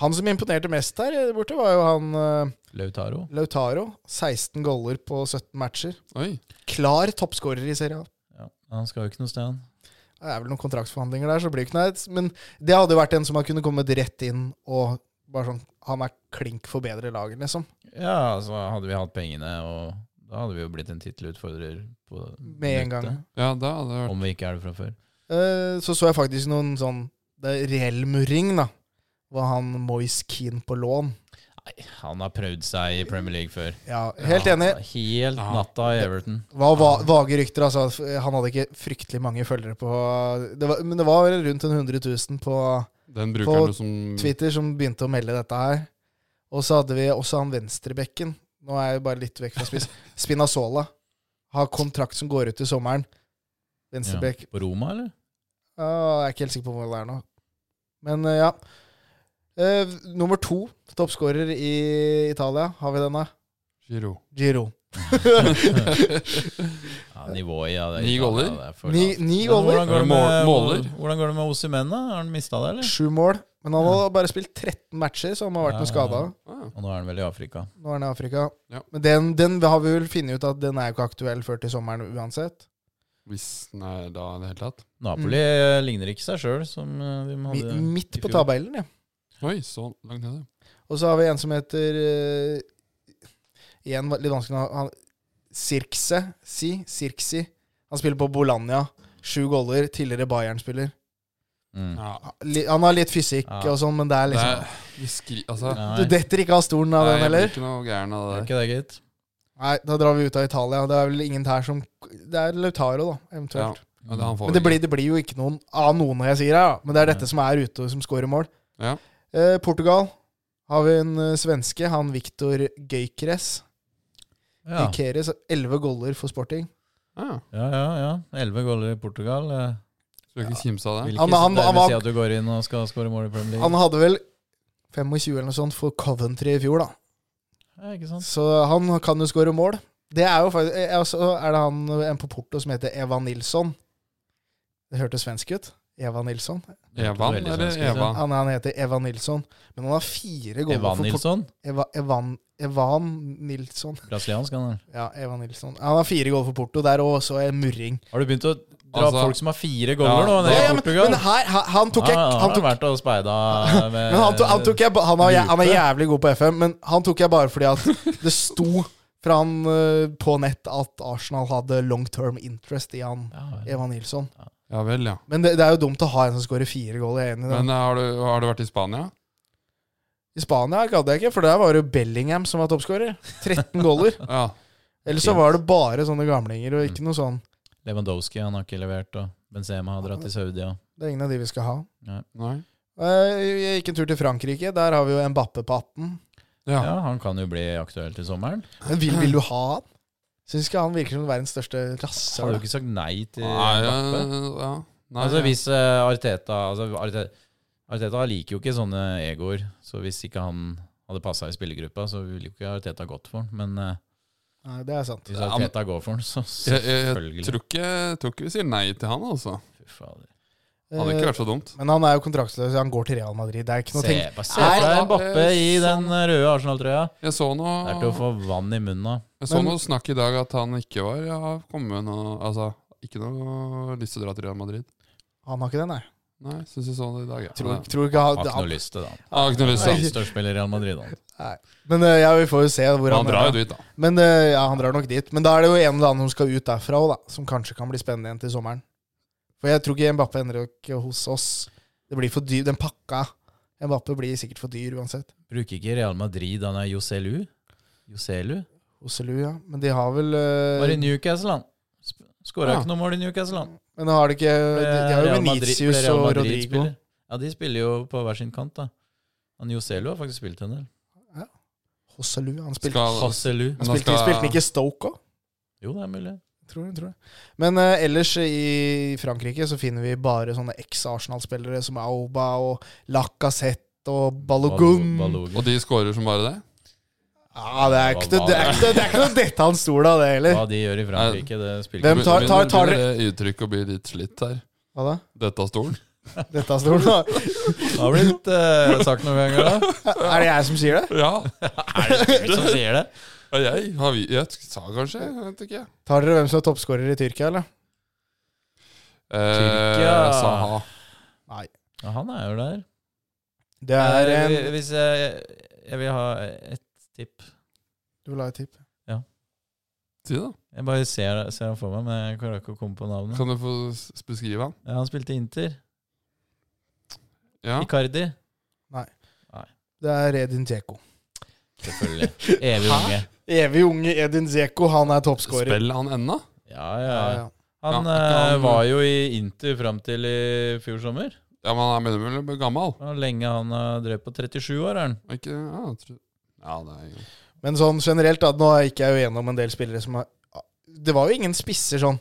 C: Han som imponerte mest der eh, borte, var jo han eh,
A: Lautaro.
C: Lautaro. 16 goller på 17 matcher.
B: Oi.
C: Klar toppskårer i Serie A.
A: Ja, han skal jo ikke noe sted, han.
C: Det er vel noen kontraktsforhandlinger der, så blir det ikke noe. Men det hadde jo vært en som hadde kunnet kommet rett inn og bare sånn Han er klink for bedre laget, liksom.
A: Ja, altså hadde vi hatt pengene, og da hadde vi jo blitt en tittelutfordrer på
C: Med en
A: nettet.
C: gang.
B: Ja, da hadde det vært
A: Om vi ikke er det fra før.
C: Eh, så så jeg faktisk noen sånn Det er reell murring, da. Var han Moise Keane på lån?
A: Nei, han har prøvd seg i Premier League før.
C: Ja, helt enig.
A: Helt
B: Ja.
A: natta i Everton.
C: Hva var vage rykter, altså. at Han hadde ikke fryktelig mange følgere på det var, Men det var vel rundt en 100 000 på
B: den
C: På
B: brukeren du som
C: Twitter som begynte å melde dette her. Og så hadde vi også han venstrebekken. Nå er jeg bare litt vekk fra spiss. Spinazzola. Har kontrakt som går ut i sommeren. Venstrebekk.
A: På Roma, eller?
C: Ah, jeg er ikke helt sikker på hvor det er nå. Men eh, ja. Eh, nummer to toppskårer i Italia. Har vi denne?
B: Giro.
C: Giro.
A: Ja, nivået, ja. Det er
B: Ni
A: Italia,
B: goller?
A: det er for
C: Ni,
A: lavt.
C: ni
A: Men
C: goller.
A: Hvordan går det med,
B: Mål- måler?
A: hvordan går det med Osimhen, da? Har han mista det, eller?
C: Sju mål. Men han har bare spilt 13 matcher, så han har vært noe
A: Ja, ja,
C: skada.
A: ja.
B: Ah,
A: Og nå er han vel i Afrika.
C: Nå er han i Afrika.
B: Ja.
C: Men den, den har vi vel funnet ut at den er jo ikke aktuell før til sommeren uansett.
B: [LAUGHS] hvis Nei, da i det hele tatt.
A: Napoli eh, ligner ikke seg sjøl, som eh, de
C: Mm. Mi,
A: hadde
C: midt
A: i
C: på
A: fjor.
C: tabellen, ja.
B: Oi, så langt nede.
C: Og så har vi en som heter eh, Igjen va- litt vanskelig å ha han- Sirkse. Si. Sirksi. Han spiller på Bolania. Sju goller. Tidligere Bayern-spiller.
A: Mm.
B: Ja.
C: Li- Han har litt fysikk
A: Ja.
C: og sånn, men det er
B: Det
C: liksom
B: er vi skri... Altså,
A: Nei,
C: Du detter ikke av stolen av
B: nei,
C: den
B: jeg blir
C: heller?
B: ikke noe gæren av
A: det er
B: det der.
A: ikke det, gitt.
C: Nei, da drar vi ut av Italia. Det er vel ingen her som Det er Lautaro, da,
B: Ja,
C: eventuelt.
B: ja, det han får
C: Men det
B: ikke.
C: blir, det blir jo ikke noen av noen jeg sier her, da. Men det er dette som er ute, og som scorer mål.
B: Ja.
C: Eh, Portugal har vi en eh, svenske, han Viktor Gøykeres.
A: Ja,
C: Gøykeres, Elleve goller for sporting.
B: Ja,
A: ja, ja. ja. Elleve goller i Portugal. eh,
B: Skal ikke kimse av
A: Vil
B: det.
A: ikke
C: Han- han-
A: dermed
C: han var-
A: si at du går inn og skal skåre mål i Premier League.
C: Han hadde vel 25 eller noe sånt for Coventry i fjor, da.
A: ja, ikke sant?
C: Så han kan jo skåre mål. Det er jo faktisk altså, eh, Og så er det han eh, en på Porto som heter Eva Nilsson. Det hørtes svensk ut. Eva Nilsson.
B: Evan
A: veldig
B: eller
A: svenske,
B: Eva?
C: Han, han heter Eva Nilsson, men han har fire goller
A: Evan
C: for Port-
A: Nilsson.
C: Eva, Evan, Evan Nilsson.
A: Brasiliansk, han er.
C: Ja, Evan Nilsson. Han har fire goller for Porto der òg, så en murring.
A: Har du begynt å dra
B: Altså-
A: folk som har fire goller
B: Ja,
A: nå?
C: Ja,
A: nede i
C: ja, men,
A: Portugal?
C: men her, ha- han tok jeg
A: Ja,
C: han tok,
A: har vært eh, og speida
C: [LAUGHS]
A: med
C: Men han tok, han tok jeg ba- han, var, jæ- han er
A: Lupe.
C: jævlig god på FM, men han tok jeg bare fordi at det sto fra han eh, på nett at Arsenal hadde long term interest i han
A: Ja, vel.
C: Evan Nilsson.
B: Ja vel, ja.
C: Men det, det er jo dumt å ha en som skårer fire goller. Jeg er enig i det.
B: Men eh, har du, har du vært i Spania?
C: I Spania gadd jeg ikke, for der var det jo Bellingham som var toppskårer. 13 goller.
B: Ja.
C: Eller så var det bare sånne gamlinger, og ikke noe sånn.
A: Lewandowski han har ikke levert, og Benzema har dratt til Saudia.
C: Det er ingen av de vi skal ha.
B: Nei.
C: Eh, Jeg gikk en tur til Frankrike. Der har vi jo Mbappe på 18.
B: Ja.
A: Ja, han kan jo bli aktuell til sommeren.
C: Men vil,
A: [LAUGHS]
C: vil du ha han? Syns ikke han virker som verdens største
A: Så har
C: rasshøl.
A: du ikke sagt nei til
B: Nei, ja,
A: Mbappe.
B: ja. Nei,
A: Altså
B: ja.
A: hvis eh, Arteta altså, Arteta, Arteta liker jo ikke sånne egoer, så hvis ikke han hadde passa i spillergruppa, så ville jo ikke Arteta gått for han. Men eh,
C: Nei, det er sant.
A: hvis
B: Ja, men-
A: Arteta går for han, så
B: jeg, jeg, jeg
A: selvfølgelig.
B: tror, ikke, tror ikke vi sier nei til han, altså.
A: Fy fader.
B: Hadde
C: Eh,
B: ikke vært så dumt.
C: Men han er jo kontraktsløs. Han går til Real Madrid. Det er ikke noe
A: Se,
C: tenk.
A: bare se for
B: Nei,
A: deg Mbappe
B: eh,
A: i den røde Arsenal-trøya.
B: Jeg så
A: Det er til å
B: noe,
A: få vann i munnen av.
B: jeg så
C: Men-
B: noe snakk i dag at han ikke var ja, kommet med noe Altså, ikke noe lyst til å dra til Real Madrid.
C: Han har ikke det, nei.
B: Nei, syns jeg så det i dag. Ja.
C: Tror,
B: Nei.
C: tror ikke
A: Har
C: han,
A: ikke noe lyst til det.
B: Jeg har ikke noe lyst til
A: Han
B: han.
A: er Størstspiller i Real Madrid. Han.
C: Nei. Men eh, ja, vi får jo se hvor han,
B: Han drar jo dit, da.
C: Men eh, ja, han drar nok dit. Men da er det jo en eller annen som skal ut derfra òg, da. Som kanskje kan bli spennende igjen til sommeren. For jeg tror ikke Mbappe ender jo ikke hos oss. Det blir for dyr, Den pakka Mbappe blir sikkert for dyr uansett.
A: Bruker ikke Real Madrid, han er Joselu. Joselu?
C: Oselu, ja. Men de har vel eh,
A: Var i Newcastle, han. Skåra
B: Ja.
A: ikke noe mål i Newcastle, han. Eh,
C: Men har de ikke De, de har jo
A: Real Madrid-
C: Venitius
A: Real
C: og
A: Madrid
C: Rodrigo.
A: spiller. Ja, de spiller jo på hver sin kant, da. Han Joselu har faktisk spilt en del.
C: Oselu, han spilte
B: Skal,
A: Hasselu.
B: Men
C: han
B: da
C: spilte,
B: skal-
C: spilte han ikke Stoke òg?
A: Jo, det er mulig.
C: Tror jeg, tror jeg. Men eh, ellers i Frankrike så finner vi bare sånne eks-Arsenal-spillere som Auba og Lacassette og Balogun.
A: Balogun.
B: og de scorer som bare det?
C: Ja, det er ikke noe det er ikke noe- det er ikke noe dette han stoler av, det heller.
A: Hva de gjør i Frankrike, det spiller
C: Hvem
A: ikke
C: tar- tar- tar
B: Begynner det uttrykket å bli litt slitt her?
C: Hva da?
B: Dette av stolen?
C: Dette han stoler av?
A: Det har blitt eh, sagt noen ganger,
C: [LAUGHS]
A: da.
C: Er det jeg som sier det?
B: [LAUGHS] Ja.
A: Er det du som sier det?
B: Og Jeg, har vi, jeg sa kanskje, jeg vet ikke.
C: Tar dere hvem som er toppskårer i Tyrkia, eller?
B: Eh,
A: Tyrkia.
B: Saha.
C: Nei.
A: Ja, han er jo der.
C: Det er en
A: Eh, Hvis jeg, jeg vil ha et tipp
C: Du la et tipp.
B: Si det, da.
A: Jeg bare ser, ser han for meg, men jeg klarer ikke å komme på navnet.
B: Kan du få s- beskrive han?
A: Ja, han spilte i Inter.
B: Ja.
A: Icardi.
C: Det er Edin Dzeko.
A: Selvfølgelig. Evig
B: Hæ?
A: unge.
C: Evig unge Edin Dzeko, han er toppskårer.
B: Spiller han ennå?
A: Ja, ja,
C: Ja,
A: ja.
C: ja.
A: Han
B: Ja, ikke han-
A: eh, var jo i Inter fram til i fjor sommer.
B: Ja, men han begynner vel å bli gammel?
A: Hvor lenge han har drevet på 37 år, er han.
B: Er Ikke, ja, jeg tror, ja, det er jo
C: Men sånn generelt, da, nå gikk jeg jo gjennom en del spillere som har Det var jo ingen spisser sånn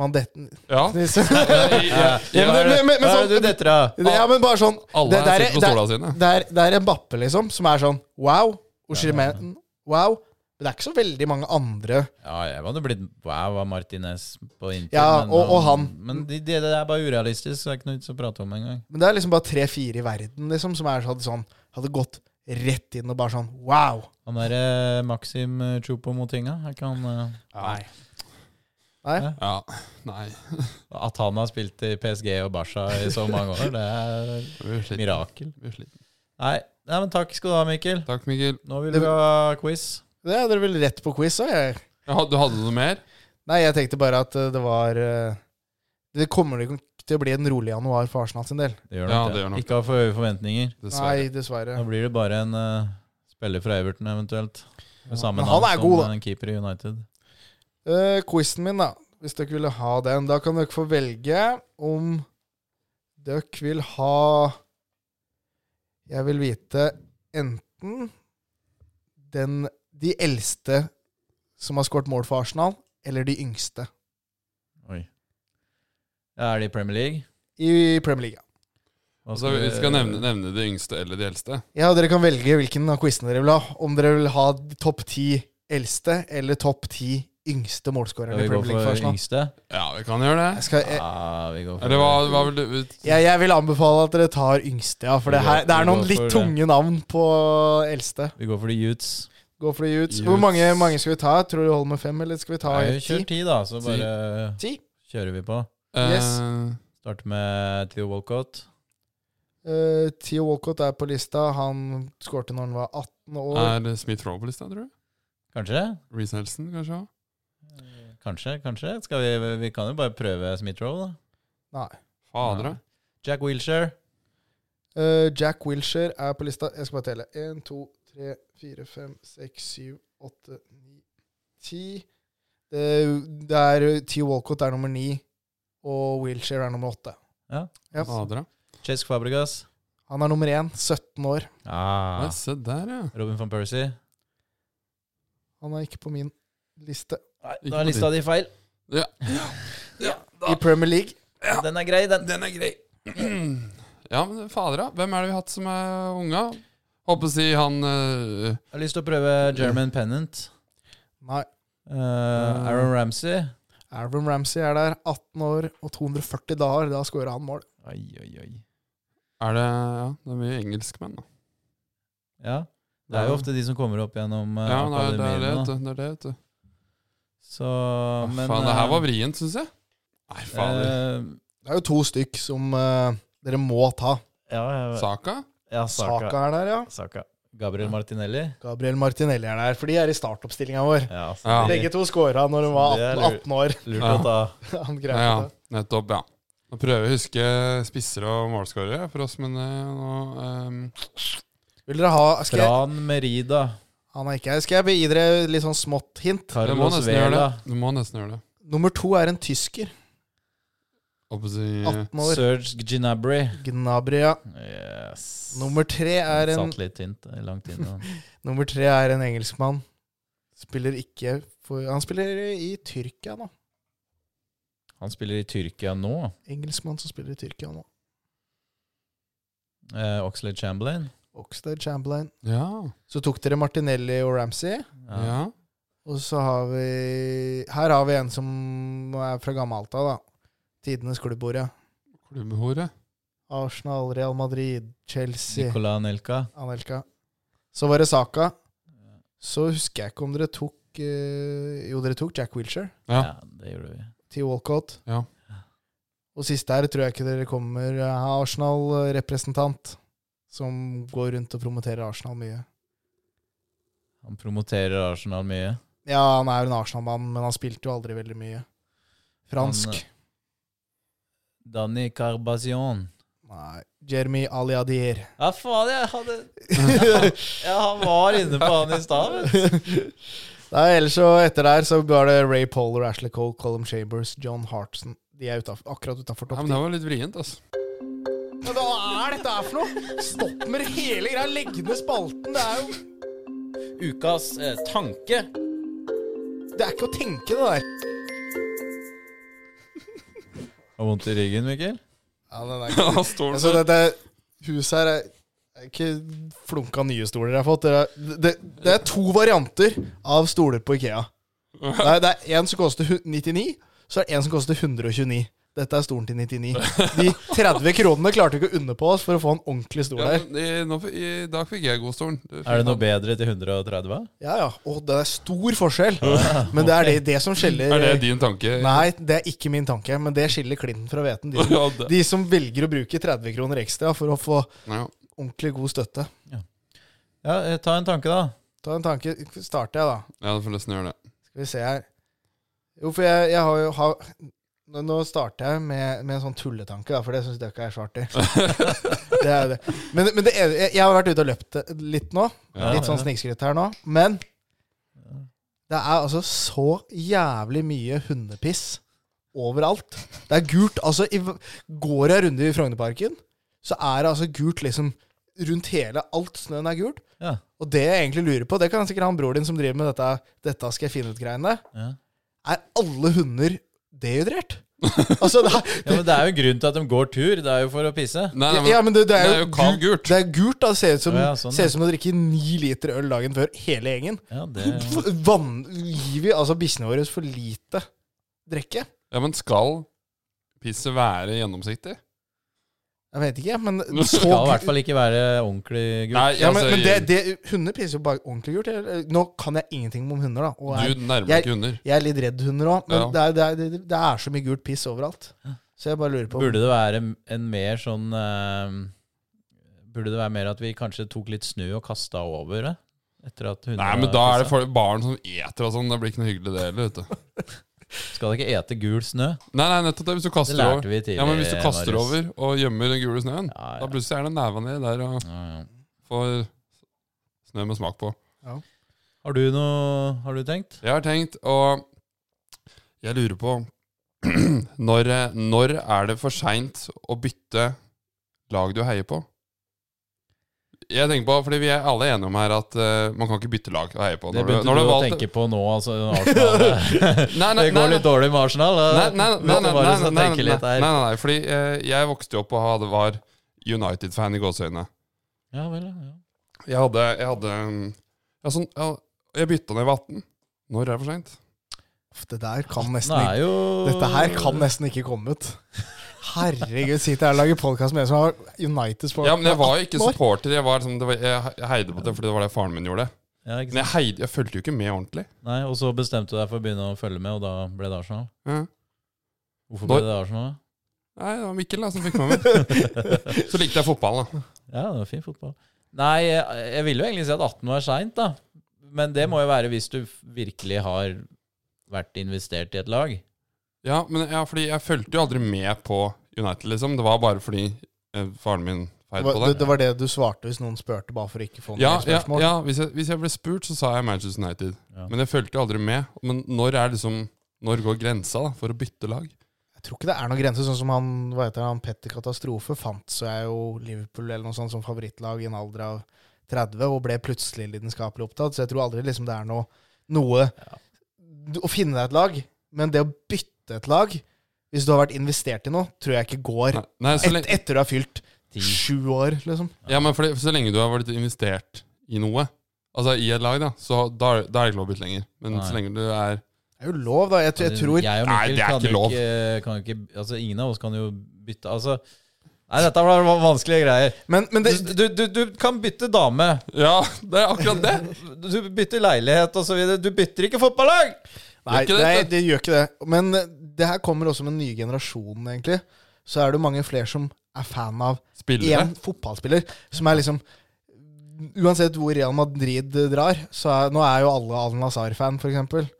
C: Man detten
B: Ja,
A: Ja,
C: Ja, men- men- men- men
A: Hva er
C: sånn-
A: det du detter av?
C: [LAUGHS] Ja, men bare sånn
B: alle
C: Det
B: er
C: der er-
B: sitter på stolene sine.
C: Det er, det er en bappe, liksom, som er sånn wow. Oshimen, wow. Men det er ikke så veldig mange andre.
A: Ja, jeg hadde blitt wow av Martinez på Inter.
C: Ja, og- og han.
A: Men det det der er bare urealistisk, så det er ikke noe vits å prate om engang.
C: Men det er liksom bare tre-fire i verden liksom, som er sånn, sånn hadde gått rett inn og bare sånn wow.
A: Han derre Maxim eh, Choupo-Motinga, er ikke han eh,
C: Nei.
B: Ja, nei
A: At han har spilt i PSG og Barca i så mange år, det er et
B: vi er sliten.
A: mirakel.
B: Vi er sliten.
A: Nei, nei, men takk skal du ha, Mikkel.
B: Takk, Mikkel.
A: Nå vil du ha quiz.
C: Det er dere vel rett på quiz òg, jeg.
B: Ja, du hadde noe mer?
C: Nei, jeg tenkte bare at eh, det var eh, Det kommer nok til å bli en rolig januar for Arsenal sin del.
A: Det gjør
B: Ja,
A: nok
B: det
A: det.
B: gjør nok
A: Ikke ha for høye forventninger.
B: Dessverre.
C: Nei, dessverre.
A: Da blir det bare en eh, spiller fra Everton eventuelt. Med samme
C: Men han
A: navn som
C: er
A: eh,
C: god, da.
A: en keeper i United.
C: Uh, quizen min, da. Hvis dere ville ha den. Da kan dere få velge om dere vil ha Jeg vil vite enten den, de eldste som har skåret mål for Arsenal, eller de yngste
A: Oi. Ja, er det i Premier League?
C: i Premier League.
A: Hva
B: Altså, vi skal nevne, nevne de yngste eller de eldste.
C: Ja, Dere kan velge hvilken av quizene dere vil ha. Om dere vil ha de topp ti eldste eller topp ti yngste målskåreren
A: Skal
C: i
A: vi gå
C: Premier League Eh. for
A: for
C: Arsenal.
A: yngste?
B: Ja, vi kan gjøre
C: Jeg,
B: det.
C: skal, jeg,
A: Ja, vi går for
B: Eller hva, hva vil du
C: jeg, jeg vil anbefale at dere tar yngste, ja. For det,
A: Vi går-
C: her, det
A: vi
C: er noen
A: går
C: litt
A: for det.
C: tunge navn på eldste.
A: Vi går for de youths.
C: Gå for det, Jutes. Hvor
B: Jutes.
C: mange, mange skal vi ta? Tror du det holder med fem, eller skal vi ta
A: Nei, vi
C: ti?
A: kjører ti, da, så
B: Ti.
A: bare eh,
C: Ti?
A: kjører vi på.
C: Yes.
B: Eh,
A: Starter med Theo Walcott.
C: Eh, Theo Walcott er på lista. Han skårte når han var 18 år.
B: Eh, Er Smith Rowe på lista, tror du?
A: Kanskje?
B: Reece Nelson, kanskje? også?
A: Kanskje, kanskje. Skal vi, vi kan jo bare prøve Smith-Roe, da.
B: Fader, da.
A: Jack Wilshere.
C: Eh, Jack Wilshere er på lista. Jeg skal bare telle. 1, 2, 3, 4, 5, 6, 7, 8, 9, 10. Det er Theo Walcott er nummer 9, og Wilshere er nummer 8.
A: Ja.
C: Ja.
B: Fader, da.
A: Chesk Fabregas.
C: Han er nummer 1, 17 år.
A: Ah.
B: Nei, Se der, ja.
A: Robin van Persie.
C: Han er ikke på min liste
A: Nei,
B: Ikke
A: da er
B: på
A: lista di feil.
B: Ja.
C: i Premier League.
A: Den er grei, den.
B: Den er grei. Ja, men fader, da. Hvem er det vi har hatt som er unga? Håper å si han eh,
A: Jeg har lyst til å prøve German Pennant.
C: Nei.
A: Eh,
B: Ah.
A: Aaron Ramsey.
C: Aaron Ramsey er der, 18 år og 240 dager. Da skårer han mål.
A: Oi, oi, oi.
B: Er det Ja, det er mye engelskmenn, da.
A: Ja. Det er jo ofte de som kommer opp gjennom eh,
B: ja, det er det, er det,
A: akademiene. da.
B: vet du. Det er det, vet du.
A: Så, men
B: Faen, det her
A: eh,
B: var vrient, syns jeg. Nei, fader.
A: eh,
C: Det er jo to stykk som eh, dere må ta.
A: ja, jeg-
B: Saka?
A: ja, Saka.
C: Saka er der, ja.
A: Saka. Gabriel Martinelli.
C: Gabriel Martinelli er der, for de er i startoppstillinga vår.
A: Ja, så
B: Ja.
A: det-
C: Begge to scora når de var
A: Det er lurt.
C: 18, 18 år. [LAUGHS]
A: Lurt
B: Ja.
A: å ta.
C: Han
B: Ja,
C: greide
B: ja,
C: det.
B: nettopp. Ja. Nå prøver jeg å huske spisser og målskårere for oss, men eh, nå eh,
C: Vil dere ha skal jeg,
A: Fran Merida.
C: Han er ikke her. Skal jeg begi dere litt sånn smått hint?
B: Du må
A: Carlos
B: nesten gjøre det.
A: Vela.
B: Du må nesten gjøre det.
C: Nummer to er en tysker.
B: Håper å si
A: Mm.
C: 18 år.
A: Serge Ginabry.
C: Gnabria.
A: Yes.
C: Nummer tre er en,
A: Satt litt tynt, eh, langt inn. da.
C: [LAUGHS] nummer tre er en engelskmann. Spiller ikke for Han spiller i Tyrkia nå.
A: Han spiller i Tyrkia nå.
C: Engelskmann som spiller i Tyrkia nå.
A: Eh, Oxlade Chamberlain.
C: Oxlade Chamberlain.
B: Ja.
C: Så tok dere Martinelli og Ramsey.
A: Ja.
B: ja.
C: Og så har vi Her har vi en som er fra Gammalta, da. Tidenes klubbord, ja.
B: Klubbhore.
C: Arsenal, Real Madrid, Chelsea
A: Nicola Nelka.
C: Anelka. Så var det Saka. Så husker jeg ikke om dere tok eh, Jo, dere tok Jack Wilshere
A: Ja.
B: Ja.
A: det gjorde vi.
C: til Walcott.
B: Ja.
C: Og sist der tror jeg ikke dere kommer Jeg har Arsenal-representant som går rundt og promoterer Arsenal mye.
A: Han promoterer Arsenal mye.
C: Ja, han er jo en Arsenal-mann, men han spilte jo aldri veldig mye. Fransk.
A: Danny Carbazion.
C: Nei. Jeremy Aliadier.
A: Ja, faen, jeg hadde
C: [LAUGHS]
A: Ja, han var inne på han i stad, vet du.
C: Nei, ellers så etter der så var det Ray Poller, Ashley Cole, Colum Chambers, John Hartson. De er utaf, akkurat utafor
B: ja,
C: topp
B: men det var litt vrient, altså.
C: Men hva er dette her for noe? Stopp med hele greia. Legg ned spalten. Det er jo
A: Ukas eh, tanke.
C: Det er ikke å tenke, det der.
A: Har vondt i ryggen, Mikkel?
C: [LAUGHS] Ja, den er
B: Han står
C: Altså,
B: der.
C: dette huset her er er ikke flunka nye stoler jeg har fått. Det er, det, det er to varianter av stoler på Ikea. Det er, det er en som koster hu- 99, så er det en som koster 129. Dette er stolen til 99. De 30 kronene klarte vi ikke å unne på oss for å få en ordentlig stol
B: Ja,
C: her.
B: men i, nå, f- I dag fikk jeg godstolen.
A: Er det noe bedre til 130?
C: Ja, ja. Og det er stor forskjell. Men det er det, det som skiller
B: Er det din tanke?
C: Nei, det er ikke min tanke, men det skiller klinten fra hveten. De,
B: Ja, det-
C: de som velger å bruke 30 kroner ekstra for å få
B: Ja.
C: ordentlig god støtte.
A: Ja, eh, ta en tanke, da.
C: Ta en tanke. Starter jeg, da.
B: Ja, du får nesten gjøre det.
C: Skal vi se her. Jo, for jeg, jeg har jo har, nå- Nå starter jeg med, med en sånn tulletanke, da, for det syns dere ikke er så artig. det er jo det. Men, men det ene- jeg, jeg har vært ute og løpt litt nå.
B: Ja.
A: Litt
C: Litt sånn snikskritt her nå. Men det er altså så jævlig mye hundepiss overalt. Det er gult. Altså, i, går jeg runder i Frognerparken, så er det altså gult liksom rundt hele Alt snøen er gult.
A: Ja.
C: Og det jeg egentlig lurer på, det kan sikkert han bror din som driver med dette, dette skal jeg finne ut-greiene,
A: Ja.
C: er alle hunder dehydrert? Altså, det er,
A: Ja, men Det er jo en grunn til at de går tur. Det er jo for å pisse.
B: Nei, nei,
C: ja, men det, det, er
B: det
C: jo
B: er jo kaldt
C: gult-
B: gult.
C: Det er gult, da. Det ser ut som,
A: Å ja, sånn,
C: ser
A: ja.
C: ut som å drikke ni liter øl dagen før, hele gjengen.
A: Ja, det...
C: [LAUGHS] Vann, gir vi altså bikkjene våre for lite drikke?
B: Ja, men skal pisset være gjennomsiktig?
C: Jeg vet ikke, men
B: Det
C: så
A: Det skal i
C: gult-
A: hvert fall ikke være ordentlig gult.
B: Nei,
C: ja, men,
B: altså,
C: men det, det, Hunder pisser jo bare ordentlig gult. eller? Nå kan jeg ingenting om hunder, da. Og jeg,
B: Du nærmer
C: jeg-
B: ikke hunder.
C: jeg er litt redd hunder òg, men
B: Ja.
C: det, er, det, er, det, det er så mye gult piss overalt. Så jeg bare lurer på
A: Burde det være en mer sånn eh, Burde det være mer at vi kanskje tok litt snø og kasta over det? Etter at hundene
B: Nei, men da
A: har
B: er det
A: pisset?
B: for barn som eter og sånn. Det blir ikke noe hyggelig, det heller. vet du.
A: Skal dere ikke ete gul snø?
B: Nei, nei, nettopp det. Hvis du
A: Det
B: kaster
A: lærte
B: over
A: vi tidligere.
B: Ja, men hvis du kaster
A: Marius.
B: over og gjemmer den gule snøen,
A: Ja, ja.
B: da plutselig er det neva ned der og
A: Ja, ja.
B: får snø med smak på.
A: Har du noe Har du tenkt?
B: Jeg har tenkt, og jeg lurer på [CLEARS THROAT] når, når er det for seint å bytte lag du heier på? Jeg tenker på, fordi Vi er alle enige om her at eh, man kan ikke bytte lag å heie på.
A: Det
B: når
A: begynte
B: når
A: du å
B: valgte-
A: tenke på nå, altså. Arsenal.
B: [LAUGHS]
A: [LAUGHS] det
B: Nei, nei, nei,
A: går
B: nei.
A: litt dårlig med Arsenal. da.
B: Nei, nei, nei,
A: Måtte
B: nei,
A: bare
B: nei,
A: så
B: nei, nei,
A: tenke
B: nei,
A: litt her.
B: nei, nei, fordi eh, jeg vokste jo opp og hadde, var United-fan i gåseøynene.
A: Ja, vel, ja.
B: Jeg hadde, jeg hadde um, ja, sånn, ja, Jeg bytta når jeg var 18. Når er det for seint?
C: Uff, Det der kan
A: Nå
C: nesten
A: er
C: ikke
A: jo
C: Dette her kan nesten ikke komme ut. Herregud, sitter her og lager podkast med en som har United Sport
B: Ja, men jeg var jo ikke
C: 18 år.
B: supporter. Jeg, var, liksom, det var, jeg jeg heide på det fordi det var det faren min gjorde.
A: ja, ikke
B: Men
A: sant?
B: jeg, heide, jeg fulgte jo ikke med ordentlig.
A: Nei, Og så bestemte du deg for å begynne å følge med, og da ble det Arsenal?
B: Ja.
A: Hvorfor
B: Når-
A: ble det Arsenal? da?
B: Nei, det var Mikkel da som fikk med meg. Så likte jeg fotball, da.
A: Ja, det var fin fotball. Nei, jeg, jeg ville jo egentlig si at 18 var seint, da. Men det må jo være hvis du virkelig har vært investert i et lag.
B: Ja, men ja, fordi jeg fulgte jo aldri med på United, liksom. Det var bare fordi eh, faren min
C: Det
B: feide
C: var,
B: på
C: det,
B: det.
C: det var det du svarte hvis noen spurte, bare for å ikke få noen
B: Ja, ja,
C: spørsmål.
B: ja hvis, jeg, hvis jeg ble spurt, så sa jeg Manchester United.
A: Ja.
B: Men jeg fulgte jo aldri med. Men når er liksom Når går grensa da, for å bytte lag?
C: Jeg tror ikke det er noen grense. Sånn som han, hva heter han, Petter Katastrofe fant så jeg jo Liverpool eller noe sånt som favorittlag i en alder av 30, og ble plutselig lidenskapelig opptatt. Så jeg tror aldri liksom det er noe, noe du- Å finne deg et lag, men det å bytte et lag, hvis du har vært investert i noe, tror jeg ikke går.
B: Nei, nei, så
C: Et,
B: lenge,
C: etter du har fylt
A: Ti.
C: sju år, liksom.
B: ja, men fordi, så lenge du har vært investert i noe, altså i et lag, da, så da, er- da er det ikke lov å bytte lenger. Men
A: Nei.
B: så lenge du er
C: Det er jo lov, da. Jeg, jeg tror
A: Jeg og
B: Nei,
A: Mikkel
B: det er
A: kan
B: ikke
A: jo
B: lov.
A: ikke, kan jo ikke Altså, ingen av oss kan jo bytte Altså Nei, dette var vanskelige greier.
C: Men, men det,
A: Du, du, du kan bytte dame.
B: Ja, det er akkurat det!
A: Du bytter leilighet osv. Du bytter ikke fotballag!
C: Nei,
B: Gjør ikke det,
C: nei,
B: vet
C: det gjør ikke det. Men eh, det her kommer også med den nye generasjonen, egentlig. Så er det mange flere som er fan av
B: Spillere.
C: én fotballspiller, som er liksom Uansett hvor Real Madrid eh, drar, så er, nå er jo alle Al Nazar-fan, f.eks.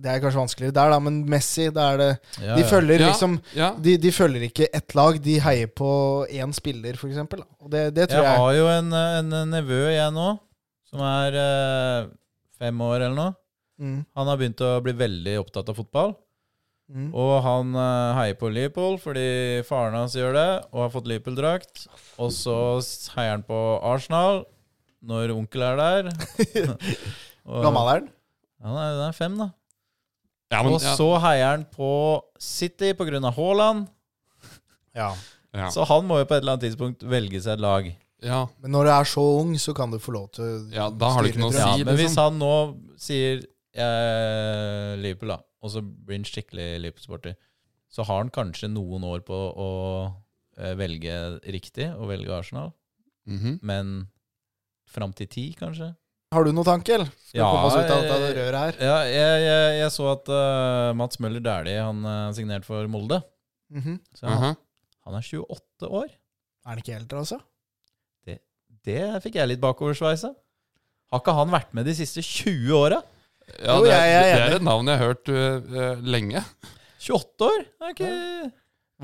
C: Det er kanskje vanskeligere der, da, men Messi, da er det
A: Ja,
C: De
A: ja.
C: følger
B: Ja,
C: liksom
B: ja.
C: de, de følger ikke ett lag, de heier på én spiller, f.eks. Og det, det tror
A: Jeg
C: jeg,
A: har jo en, en nevø, jeg nå, som er eh, fem år eller noe.
C: Mm,
A: Han har begynt å bli veldig opptatt av fotball.
C: mm.
A: Og han eh, heier på Liverpool fordi faren hans gjør det, og har fått Liverpool-drakt. Og så s- heier han på Arsenal når onkel er der. Og-
C: Gammel er den?
A: Han er, han er fem, da.
B: Ja, men,
A: og
B: ja,
A: så heier han på City pga. Haaland.
C: Ja.
B: ja,
A: Så han må jo på et eller annet tidspunkt velge seg et lag.
B: ja,
C: Men når du er så ung, så kan du få lov til å
B: ja, da har du ikke noe å
A: Ja,
B: si,
A: men hvis
B: liksom.
A: han nå sier eh, Liverpool, da, og så blir han skikkelig Liverpool-sporter, så har han kanskje noen år på å eh, velge riktig og velge Arsenal,
B: Mhm.
A: men fram til ti, kanskje?
C: Har du noen tanke, eller? Skal vi
A: Ja,
C: komme oss ut av dette
A: eh,
C: røret her?
A: Ja, jeg, jeg, jeg så at eh, Mats Møller Dæhlie han eh, signerte for Molde.
C: Mhm.
A: Så han,
B: Aha.
A: han er 28 år.
C: Er den ikke eldre, altså?
A: Det fikk jeg litt bakoversveis av. Har ikke han vært med de siste 20 åra?
B: Ja,
C: Jo,
B: det,
C: jeg-
B: er,
C: jeg er
B: det er
C: enig.
B: et navn jeg har hørt øh, øh, lenge.
A: 28 år? Jeg er ikke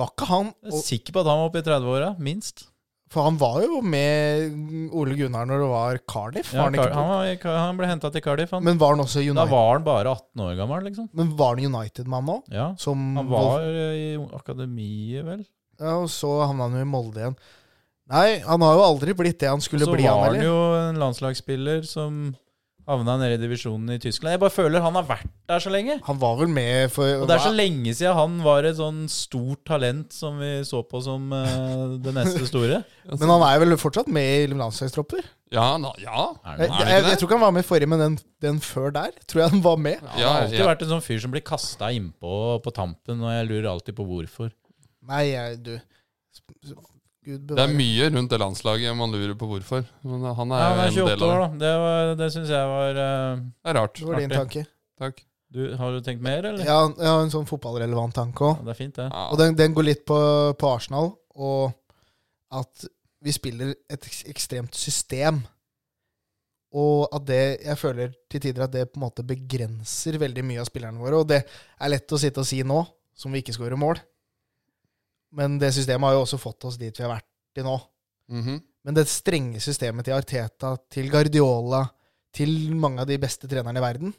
C: Var ikke han
A: jeg er sikker på at han var oppe i 30-åra, minst.
C: For han var jo med Ole Gunnar når det var Cardiff.
A: Ja,
C: var han
A: Car-
C: ikke
A: han, var, i Car- han ble henta til Cardiff. Han.
C: Men var han også
A: da
C: United,
A: var han bare 18 år gammel, liksom.
C: Men var han United-mann òg?
A: Ja.
C: Som
A: Han var eh, i akademiet, vel.
C: Ja, og så havna han jo i Molde igjen. Nei, han har jo aldri blitt det han
A: Og
C: skulle
A: så
C: bli, han
A: var han
C: heller.
A: jo en landslagsspiller som Havna nede i divisjonen i Tyskland. Jeg bare føler han har vært der så lenge.
C: Han var vel med for
A: Og det er så lenge siden han var et sånn stort talent som vi så på som eh, det neste
B: [LAUGHS]
A: store.
C: Men han er vel fortsatt med i landslagstropper?
B: Ja, na, ja.
A: Er
C: Jeg,
A: det noe?
B: Nei.
C: jeg,
B: det
C: jeg,
B: det?
C: tror ikke han var med i forrige, men den, den før der tror jeg han var med.
B: ja,
A: Han har alltid
B: ja.
A: vært en sånn fyr som blir kasta innpå på tampen, og jeg lurer alltid på hvorfor.
C: Nei, jeg, du Gud
B: Det er
C: bevare.
B: mye rundt det landslaget man lurer på hvorfor. Men eh, han er,
A: Ja, han er
B: jo en del
A: 28
B: av
A: år,
B: det.
A: da. Det, var- det syns jeg var eh,
B: Det er rart.
C: Det var din
A: Artig.
C: tanke.
B: Takk.
A: du, Har du tenkt mer, eller?
C: Ja, jeg har en sånn fotballrelevant tanke òg.
A: Ja, det er fint, det.
B: Ja.
C: Og den, den går litt på, på Arsenal, og at vi spiller et eks- ekstremt system. Og at det Jeg føler til tider at det på en måte begrenser veldig mye av spillerne våre. Og det er lett å sitte og si nå, som vi ikke skårer mål. Men det systemet har jo også fått oss dit vi har vært til nå.
B: Mhm.
C: Men det strenge systemet til Arteta, til Guardiola, til mange av de beste trenerne i verden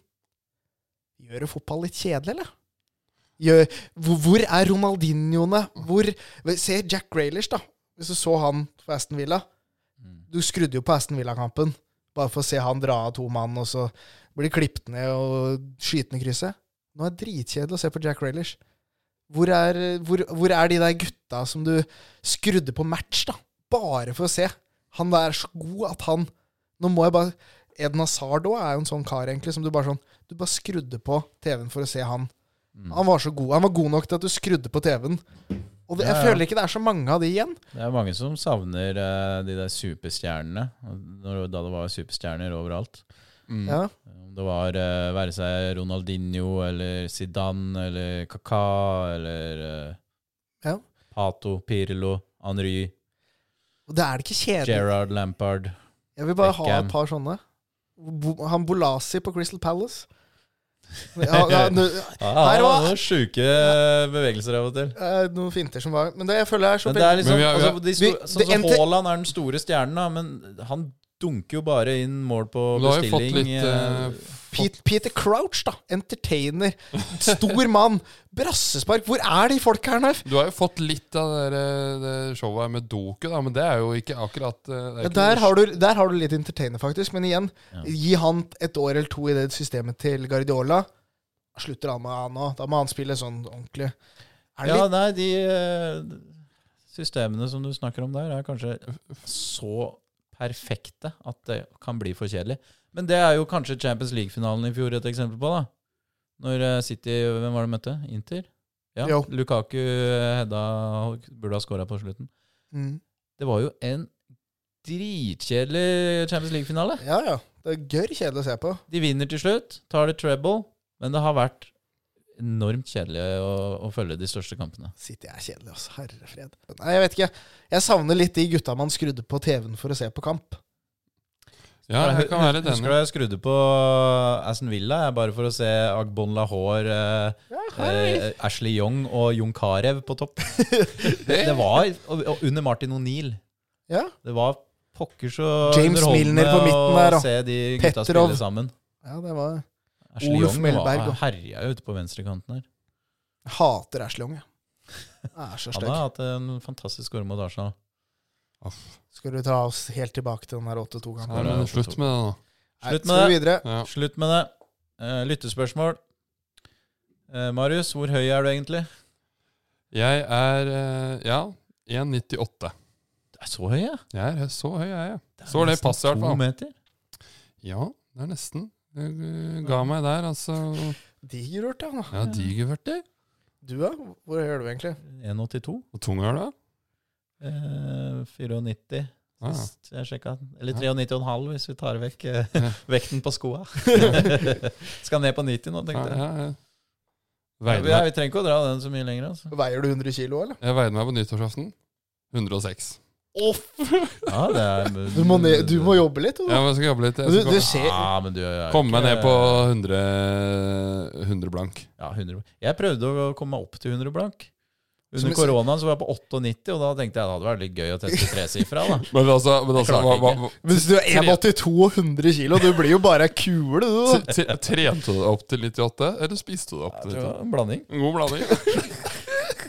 C: Gjør det fotball litt kjedelig, eller? Gjør, hvor, hvor er Ronaldinhoene? Hvor Se Jack Graylish, da. Hvis du så han for Aston Villa.
A: Mm.
C: Du skrudde jo på Aston Villa-kampen. Bare for å se han dra av to mann, og så blir klippet ned og skyte ned krysset. Nå er det dritkjedelig å se på Jack Graylish. Hvor er, hvor, hvor er de der gutta som du skrudde på match, da? Bare for å se. Han er så god at han Nå må jeg bare Eden Hazard òg er jo en sånn kar, egentlig, som du bare sånn Du bare skrudde på TV-en for å se han.
A: Mm.
C: Han var så god. Han var god nok til at du skrudde på TV-en. Og det, jeg
A: Ja, ja.
C: føler ikke det er så mange av de igjen.
A: Det er mange som savner eh, de der superstjernene, når, da det var superstjerner overalt.
B: Mm.
C: Ja.
A: Om det var eh, være seg Ronaldinho eller Zidane eller Kaka eller eh,
C: Ja.
A: Pato, Pirlo, Henry,
C: Og det er det ikke kjedelig.
A: Gerard Lampard.
C: Jeg vil bare ha
A: Beckham.
C: et par sånne. Bo, han Bolasi på Crystal Palace. Ja, ja, nå,
A: Ah,
C: Her
A: det var
C: var-
A: noen sjuke bevegelser av og til.
C: eh, noen finter som var Men det jeg føler jeg er så
A: Men det er liksom,
B: Men vi har- vi har-
A: altså, de sto,
C: vi-
A: sånn
C: det
A: som
C: endte-
A: Haaland er den store stjernen, da, men han dunker jo bare inn mål på
B: Du har jo
A: bestilling.
B: fått litt
A: eh,
B: eh, fått,
C: Pete, Peter Crouch, da. Entertainer. Stor mann. Brassespark. Hvor er de folka her, Narf?
B: Du har jo fått litt av det, der, eh, det showet her med Doku, da, men det er jo ikke akkurat eh, det er
C: Ja,
B: ikke
C: der,
B: noe-
C: har du- der har du litt entertainer, faktisk. Men igjen, gi han et år eller to i det systemet til Guardiola. Slutter han med han nå? Da må han spille sånn ordentlig. Er det
A: Ja,
C: litt?
A: nei, de eh, systemene som du snakker om der, er kanskje så perfekte at det kan bli for kjedelig. Men det er jo kanskje Champions League-finalen i fjor et eksempel på, da. Når eh, City Hvem var det de møtte? Inter? Ja,
C: Jo.
A: Lukaku eh, Hedda burde ha skåra på slutten.
C: Mm.
A: Det var jo en dritkjedelig Champions League-finale.
C: Ja, ja. Det er gørr kjedelig å se på.
A: De vinner til slutt, tar det treble, men det har vært enormt kjedelig å, å følge de største kampene.
C: City er kjedelig, altså. Herre fred. Nei, jeg vet ikke. Jeg savner litt de gutta man skrudde på TV-en for å se på kamp.
B: Ja, jeg kan være litt
A: Husker du
B: enig.
A: jeg skrudde på Aston Villa jeg, bare for å se Agbon Lahore, eh, eh, Ashley Young og Jon Carew på
B: [LAUGHS]
A: topp? det, det var og, og under Martin O'Neill.
C: Ja.
A: Det var pokker så
C: James Milner på midten
A: å
C: der, og
A: se de gutta
C: Petrov.
A: spille sammen.
C: ja, det var
A: Ashley
C: Oluf
A: Young
C: Melberg
A: var-
C: og-
A: herja jo ute på venstrekanten her.
C: Jeg hater Ashley Young, jeg. Jeg er så
A: Han
C: stygg.
A: har hatt en fantastisk skåring mot Arsenal.
C: Skal du ta oss helt tilbake til den der 8-2-kampen?
B: Nei, men slutt med det, nå.
A: Slutt med
C: Skal vi
A: det.
C: videre?
B: Ja.
A: Slutt med det. Eh, lyttespørsmål. Eh, Marius, hvor høy er du egentlig?
B: Jeg er eh, ja, 1,98.
A: Du er så høy, ja.
B: Jeg er så høy, jeg er jeg. Så det
A: nesten
B: passer i hvert
A: to
B: fall.
A: meter.
B: Ja, det er nesten. Jeg eh, ga meg der, altså.
C: Digerurt, ja. nå.
B: Ja, diger vært det.
C: Du, da? Hvor høy er du egentlig?
A: 1,82.
B: Hvor tung er du? da?
A: Eh, 94.
B: Ah, ja.
A: Sist jeg sjekket. Eller
B: Ja.
A: 93,5 hvis vi tar vekk eh,
B: Ja.
A: [LAUGHS] vekten på skoa. Skal ned på 90 nå,
B: Ja,
A: tenkte jeg.
B: ja, ja.
A: Ja,
B: Veide
A: vi,
B: meg-
A: vi trenger ikke å dra den så mye lenger. Altså.
C: Veier du 100 kilo, eller?
B: Jeg veide meg på nyttårsaften. 106.
A: Ja, det er,
C: Du må, ned, du må jobbe litt, du.
B: Ja, men jeg skal jobbe litt. Jeg
C: Du,
B: skal
C: du
B: komme-
C: ser
A: Ja, men du er
B: komme meg
A: ikke-
B: ned på 100, 100 blank.
A: ja, 100. Jeg prøvde å komme meg opp til 100 blank. Under
C: Som jeg-
A: koronaen så var jeg på 98, og da tenkte jeg det hadde vært litt gøy å teste tresifra.
C: [LAUGHS]
A: da.
B: Men altså, men altså hva,
A: klarte
B: hva,
C: Hvis du er 1,82 og 100 kilo, du blir jo bare ei kule, du.
B: t- t- Trente du deg opp til 98, eller spiste du deg opp
A: Jeg
B: til
A: tror det var
B: 98?
A: En blanding.
B: En god blanding.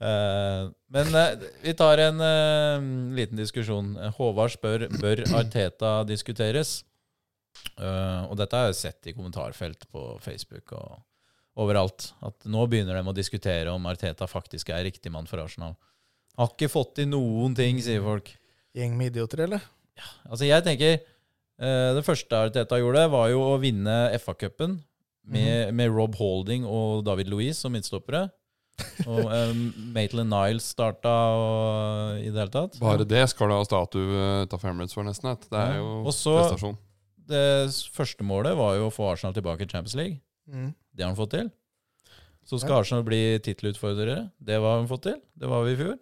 A: Eh, men eh, vi tar en eh, liten diskusjon. Håvard spør bør Arteta diskuteres. Eh, og dette har jeg sett i kommentarfelt på Facebook og overalt. At nå begynner de å diskutere om Arteta faktisk er riktig mann for Arsenal. Har ikke fått til noen ting, sier folk.
C: Gjeng med idioter, eller?
A: Altså, jeg tenker eh, Det første Arteta gjorde, var jo å vinne FA-cupen
C: Mhm.
A: med, med Rob Holding og David Louise som midtstoppere. Og
C: [LAUGHS]
A: eh, Maitland Niles starta og, i det hele tatt.
B: Bare det skal du ha statue eh, av Emirates for, nesten. At. Det er jo
A: Og så-
B: prestasjon.
A: Det s- første målet var jo å få Arsenal tilbake i Champions League.
C: Mm.
A: Det har han fått til. Så skal Arsenal bli tittelutfordrere. Det har han fått til. Det var vi i fjor.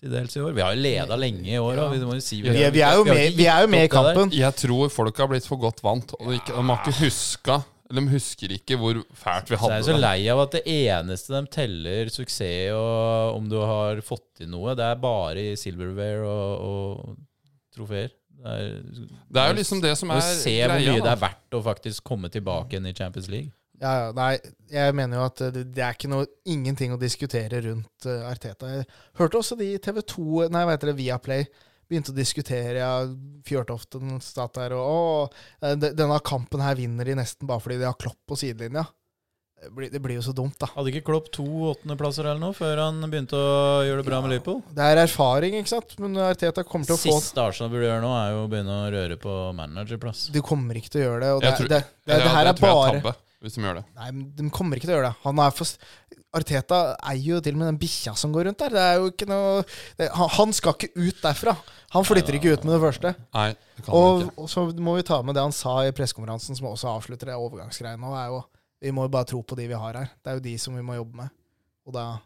A: Til dels i år. Vi har jo leda lenge i år. da. Vi, må jo si
C: Vi, er- vi er jo
A: har
C: med,
A: ikke
C: vi er jo med i
A: gitt opp det der.
C: kampen.
B: Jeg tror folk har blitt for godt vant. Og de, ikke, de har ikke huska De husker ikke hvor fælt
A: Så
B: vi
A: jeg
B: hadde
A: er så
B: det.
A: lei av at det eneste de teller suksess og om du har fått til noe, det er bare i silverware og, og trofeer. Det er,
B: Det er jo liksom det som
A: å
B: er
A: se hvor mye det er verdt å faktisk komme tilbake igjen i Champions League.
C: Ja, ja, nei, jeg mener jo at eh, det, det er ikke noe, ingenting å diskutere rundt eh, Arteta. Jeg hørte også de TV 2, nei, hva heter det, Viaplay, begynte å diskutere ja, Fjørtoften satt der og å, eh, de- denne kampen her vinner de nesten bare fordi de har Klopp på sidelinja. Det blir, det blir jo så dumt, da.
A: Hadde ikke Klopp to åttendeplasser eller noe før han begynte å gjøre det bra med Liverpool?
C: Det er erfaring, ikke sant? Men Arteta kommer til å få
A: Siste Arsenal burde gjøre nå, er jo å begynne å røre på managerplass.
C: De kommer ikke til å gjøre det. Og det,
B: Jeg tror-
C: det, det, det her er bare
B: tabbe, hvis de gjør det.
C: Nei, men de kommer ikke til å gjøre det. Han er for, Arteta eier jo til og med den bikkja som går rundt der. Det er jo ikke noe det, han- Han skal ikke ut derfra. Han flytter ikke ut med det første.
B: Nei, det kan de
C: Og,
B: ikke.
C: og så må vi ta med det han sa i pressekonferansen, som også avslutter det overgangsgreiene. nå, er jo, Vi må jo bare tro på de vi har her. Det er jo de som vi må jobbe med. Og da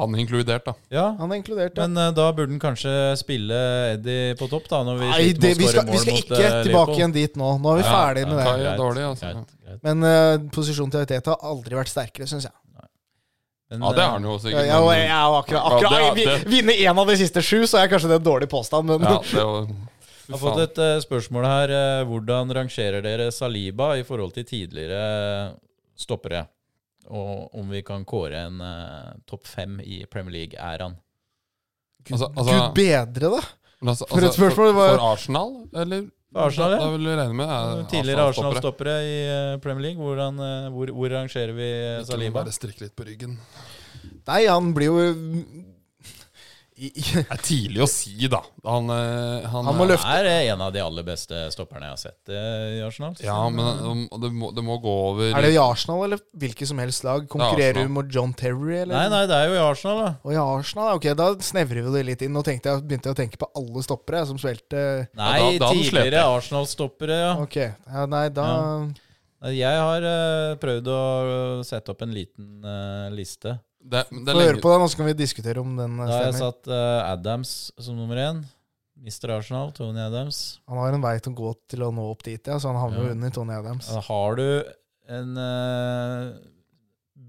B: Han inkludert, da.
A: Ja,
C: Han er inkludert, ja.
A: men eh, da burde han kanskje spille Eddie på topp, da, når vi
C: Nei, det,
A: sliter med
C: vi
A: å
C: skal,
A: skåre
C: vi
A: mål
C: skal
A: mot
C: ikke
A: eh,
C: tilbake
A: Liverpool.
C: igjen dit nå. Nå er vi ferdig med det.
B: ja,
A: Greit,
B: dårlig, altså.
A: greit, greit.
C: Men eh, posisjonen til Arteta har aldri vært sterkere, syns jeg.
A: Men,
B: Ja, det
A: eh,
B: har han jo
C: Ja,
B: sikkert.
C: ja,
B: men-
C: ja, ja, akkurat, akkurat,
B: Ja, det-
C: vi- Vinne én av de siste sju, så er kanskje det en dårlig påstand, men
B: Ja, det var,
A: Jeg har fått et eh, spørsmål her. eh, hvordan rangerer dere Saliba i forhold til tidligere stoppere? Og om vi kan kåre en eh, topp fem i Premier League-æraen.
C: Gud,
B: Altså- altså-
C: Gud bedre, da!
B: Men altså,
C: For et
B: altså,
C: spørsmål
B: for,
C: var-
B: for Arsenal, eller?
A: For Arsenal, ja.
B: Da vil du regne med eh,
A: Tidligere
B: Arsenal-stoppere.
A: Arsenal-stoppere i eh, Premier League. Hvordan, eh, hvor, hvor rangerer vi eh,
B: Må
A: Saliba?
B: Bare strikke litt på ryggen.
C: Nei, han blir jo i, i,
B: Det er tidlig å si, da. Han, eh, han,
C: Han må løfte.
A: Han er eh, en av de aller beste stopperne jeg har sett eh, i Arsenal.
B: Ja, men eh, det må, det må gå over
C: Er det i Arsenal eller hvilket som helst lag? Konkurrerer
B: Arsenal.
C: du mot John Terry, eller?
A: Nei, nei, det er jo i Arsenal, da.
C: Og i Arsenal, ja, ok, da snevrer vi det litt inn. Nå tenkte jeg, begynte jeg å tenke på alle stoppere som spilte
A: Nei,
B: da- da hadde den slept,
A: tidligere
B: ja.
A: Arsenal-stoppere, ja.
C: Ok, ja, nei, da
A: Jeg har eh, prøvd å eh, sette opp en liten eh, liste.
B: det, det er
C: Få høre
B: lenge,
C: på den, og så kan vi diskutere om den eh,
A: Da har jeg
C: stemmer.
A: satt eh, Adams som nummer én. Mr. Arsenal, Tony Adams.
C: Han har en vei til å gå til å nå opp dit, ja, så han havner jo
A: Ja.
C: under Tony Adams.
A: Eh, Har du en eh,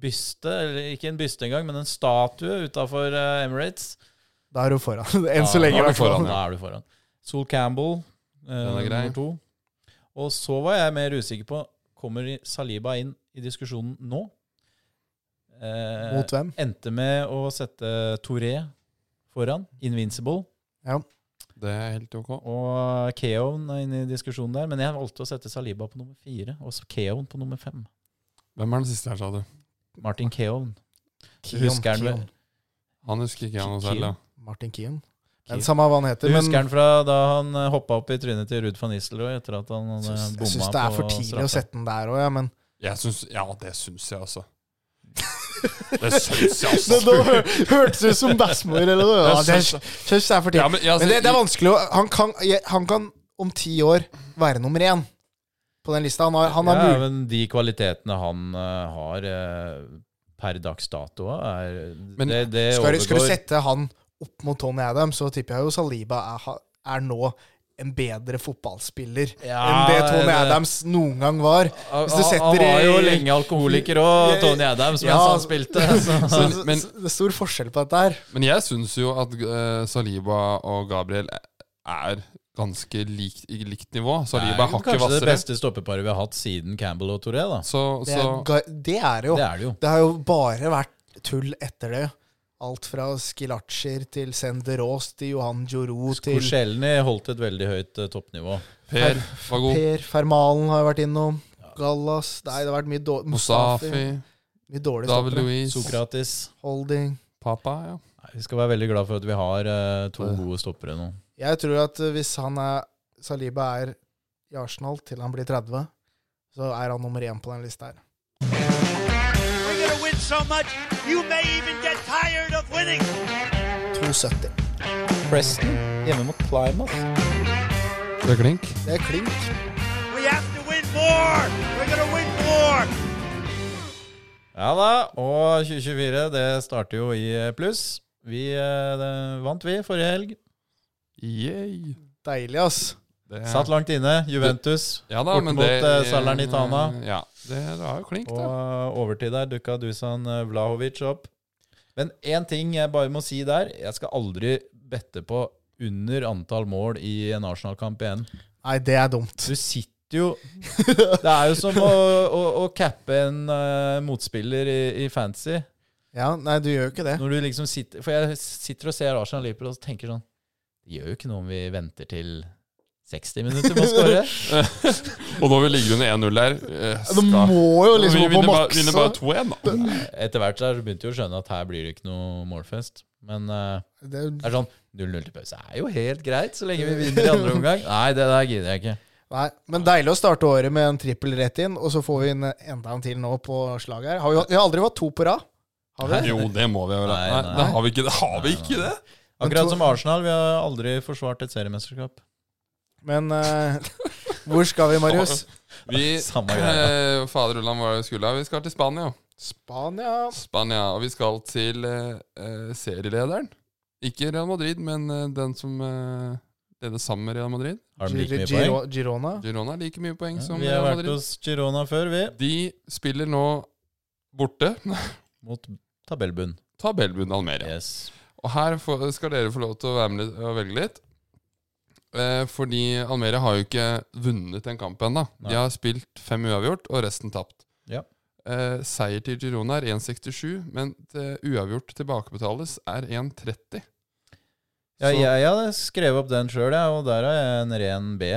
A: byste, eller ikke en byste engang, men en statue utafor eh, Emirates
C: Da er du foran. [LAUGHS] Enn så
A: Da-
B: da
C: lenge, i
B: er du
C: hvert fall.
B: foran, ja.
A: Da er du foran. Sol Campbell, eh,
B: Den er grei.
A: nummer to. Og så var jeg mer usikker på Kommer Saliba inn i diskusjonen nå? Eh,
C: Mot hvem?
A: endte med å sette Touré foran, Invincible,
B: det er helt ok.
A: og Keown er inne i diskusjonen der. Men jeg valgte å sette Saliba på nummer fire, og så Keown på nummer fem.
B: Hvem er den siste her, sa du?
A: Martin Keown.
C: Keon,
A: Husker han
C: Keon.
A: vel?
B: Han husker ikke jeg noe selv. Ja.
C: Martin Keon. Men
A: Keon.
C: samme hva han
A: Du
C: heter. Men
A: husker han fra da han hoppa opp i trynet til Ruud van Nistelrooy etter at han hadde
C: syns- jeg syns
A: bomma
C: det er for
A: på
C: tidlig å
A: straffa?
C: sette den der òg, ja,
A: [LAUGHS]
C: men
B: Jeg syns, ja, det syns jeg
C: [LAUGHS]
B: også. Det syns jeg også.
C: det, det hø- hørtes ut som bæsjmor eller noe. Ja, det
B: syns-
C: syns det er for
B: Ja,
C: tidlig.
B: men, jeg-
C: Men
A: altså,
C: det, det er vanskelig å Han kan, jeg- han kan om ti år være nummer én på den lista. Han har, han har
A: ja,
C: mul-
A: men de kvalitetene han eh, har eh, per dags dato, eh, er
B: Men
A: det, det
C: skal, du, skal du
A: overgår-
C: sette han opp mot Tony Adams, så tipper jeg jo Saliba er, ha- er nå en bedre fotballspiller
A: Ja,
C: enn det Tony
A: det-
C: Adams noen gang var.
A: Han,
C: Hvis du setter
A: han var jo
C: i-
A: lenge alkoholiker òg, Tony Adams, mens
C: Ja.
A: han spilte. Så.
C: Så,
B: Men-
C: [LAUGHS] så,
B: men-
C: så, det er stor forskjell på dette her.
B: men jeg syns jo at eh, Saliba og Gabriel er ganske likt, i likt nivå. Saliba er hakket
A: kanskje det
B: hvassere.
A: beste stoppeparet vi har hatt siden Campbell og Toré. da.
B: Så,
C: Det er,
B: så
C: ga- det er det jo.
A: Det er det jo.
C: Det har jo bare vært tull etter det. Alt fra Skilaccier til Senderos til Johan Joro til
A: Korselny holdt et veldig høyt eh, toppnivå.
B: Per var god.
C: Per Fermalen har jo vært innom. Gallas Nei, det har vært mye dårlig
B: Mustafi,
C: Mye dårlig
B: David
C: stoppere.
B: Louis,
A: Sokratis.
C: Holding.
B: Papa. ja.
A: Nei, vi skal være veldig glad for at vi har eh, to
B: Ja.
A: gode stoppere nå.
C: Jeg tror at eh, hvis han er Saliba er i Arsenal til han blir 30, så er han nummer én på den lista her.
D: We're going to win so much, you may even get tired of winning.
C: 270.
A: Preston hjemme mot Plymouth.
B: Det er klink.
C: Det er klink.
D: We have to win more. We're going to win more.
A: Ja da, og 2024 det starter jo i eh, pluss. Vi eh, det- vant, vi, forrige helg.
B: Yay.
C: Deilig, ass.
B: Det er-
A: Satt langt inne. Juventus.
B: ja, da,
A: bort
B: men
A: mot,
B: det-
A: eh, Salernitana.
B: Ja, det, det var jo klink,
A: Og
B: det.
A: eh, overtid der dukka Dusan eh, Vlahovic opp. Men én ting jeg bare må si der. Jeg skal aldri bette på under antall mål i en Arsenal-kamp igjen.
C: Nei, det er dumt.
A: Du sitter jo [LAUGHS] Det er jo som å, å, å cappe en eh, motspiller i, i fantasy.
C: Ja, nei, du gjør jo ikke det.
A: Når du liksom sitter For jeg sitter og ser Arsenal Liverpool og tenker sånn Det gjør jo ikke noe om vi venter til 60 minutter med å score.
B: Og når vi ligger under 1-0 der eh,
C: Du
B: skal-
C: må jo
B: Vi
C: liksom gå
B: vinner
C: på
B: bare,
C: maks.
B: vinner bare 2-1, da.
A: Etter hvert så begynte vi å skjønne at her blir det ikke noe målfest. Men eh,
C: Det er-
A: det er sånn 0-0 til pause er jo helt greit, så lenge vi vinner i andre omgang. Nei, det der gidder jeg ikke.
C: Nei, men deilig å starte året med en trippel rett inn, og så får vi en, enda en til nå på slaget her. Har vi, vi har aldri hatt to på rad. Har vi?
B: Jo, det må vi vel.
A: Nei,
B: Nei,
A: nei.
B: det har vi ikke. Det har vi ikke det.
A: Akkurat som Arsenal, vi har aldri forsvart et seriemesterskap.
C: Men eh, hvor skal vi,
B: [LAUGHS]
C: Marius?
B: Vi,
A: Samme greia.
B: eh, [LAUGHS] Fader Ulland, hva var det vi skulle? Vi skal til Spania.
C: Spania.
B: Spania, og vi skal til eh, eh, serielederen. Ikke Real Madrid, men eh, den som eh, leder sammen med Real Madrid.
A: Har de like mye poeng?
C: Giro, Girona.
B: Girona har like mye poeng
A: Ja,
B: som
A: vi har
B: Real
A: vært
B: Madrid.
A: hos Girona før, vi.
B: De spiller nå borte [LAUGHS]
A: Mot tabellbunn.
B: tabellbundet Almeria.
A: Yes.
B: Og her får- skal dere få lov til å være med litt, og velge litt. Eh, fordi Almeria har jo ikke vunnet den kampen ennå.
A: Nei.
B: De har spilt fem uavgjort og resten tapt.
A: Ja.
B: Eh, seier til Girona er 1,67, men til uavgjort tilbakebetales er 1,30.
A: Ja,
B: Så
A: jeg, jeg hadde skrevet opp den sjøl, og der har jeg en ren B.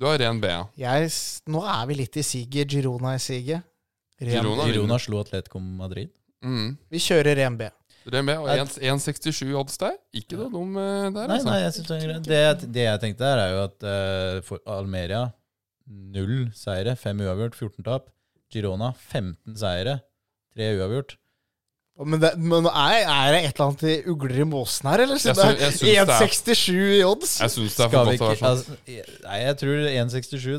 B: du har ren B. ja.
C: Jeg, s- nå er vi litt i siget. Girona i siget. Ren-
B: Girona
A: Girona
B: vinner.
A: slo Atletico Madrid.
B: Mm.
C: Vi kjører ren B.
B: Ren B og
A: Jeg-
B: 1 1,67 odds der. Ikke noe dum eh, der,
A: Nei,
B: altså.
A: nei, jeg synes det, er greit. det, jeg- det jeg tenkte her, er jo at eh, for Almeria null seire, fem uavgjort, 14 tap. Girona 15 seire, tre uavgjort.
C: Å, Men, det, men er, er det et eller annet i ugler i måsen her, eller? Så
B: Jeg
C: det
B: sy- jeg synes det
C: er
B: er-
C: 1,67 i odds.
B: Jeg syns det er
A: Skal
B: for
A: vi
B: godt
A: ikke,
B: å være sånn.
A: altså, nei, jeg tror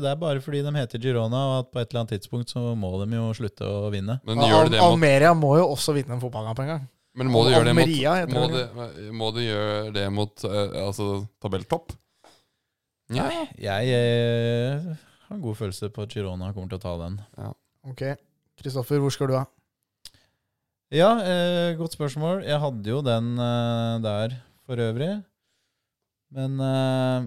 A: 1,67 det er bare fordi de heter Girona, og at på et eller annet tidspunkt så må de jo slutte å vinne.
B: Men
C: Al-
B: gjør de det mot
C: Almeria må jo også vinne en fotballkamp en gang.
B: Men må du gjøre det mot,
C: Almeria, heter
B: må
C: det.
B: det- må du gjøre det mot eh, altså, tabelltopp? Ja.
A: Jeg eh, har en god følelse på at Girona kommer til å ta den.
C: Ok, Kristoffer, hvor skal du, da?
A: Ja, eh, godt spørsmål. Jeg hadde jo den eh, der for øvrig. Men eh,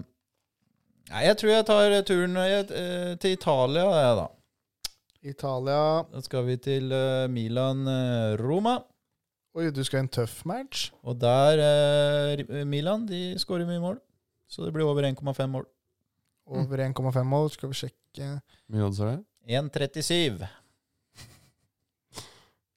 A: Nei, jeg tror jeg tar turen eh, til Italia, jeg, da.
C: Italia
A: Da skal vi til eh, Milan eh, Roma.
C: Oi, du skal i en tøff match?
A: Og der eh, Milan de skårer mye mål. Så det blir over 1,5 mål.
C: Over 1,5 mål. Skal vi sjekke
B: Mye odds er det?
A: 1,37.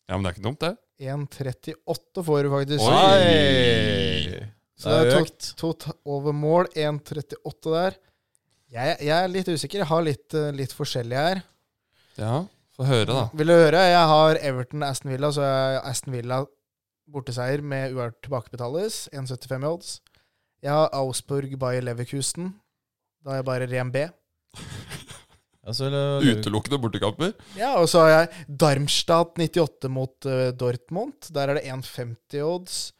B: Ja, men det er ikke dumt, det.
C: 1,38 får du faktisk.
B: Oi.
C: Så det er
A: økt.
C: to, to over mål. 1,38 der. Jeg, jeg er litt usikker. Jeg har litt, eh, litt forskjellig her.
B: Ja, Få høre, da.
C: Vil du høre? Jeg har Everton Aston Villa, så jeg har Aston Villa borteseier med UR tilbakebetales. 1,75 i odds. Jeg har Augsburg Bayer Leverkusen. Da er jeg bare ren B.
A: Altså, eller-
B: Utelukkende bortekamper.
C: Ja, og så har jeg Darmstadt 98 mot eh, Dortmund. Der er det 1,50 odds.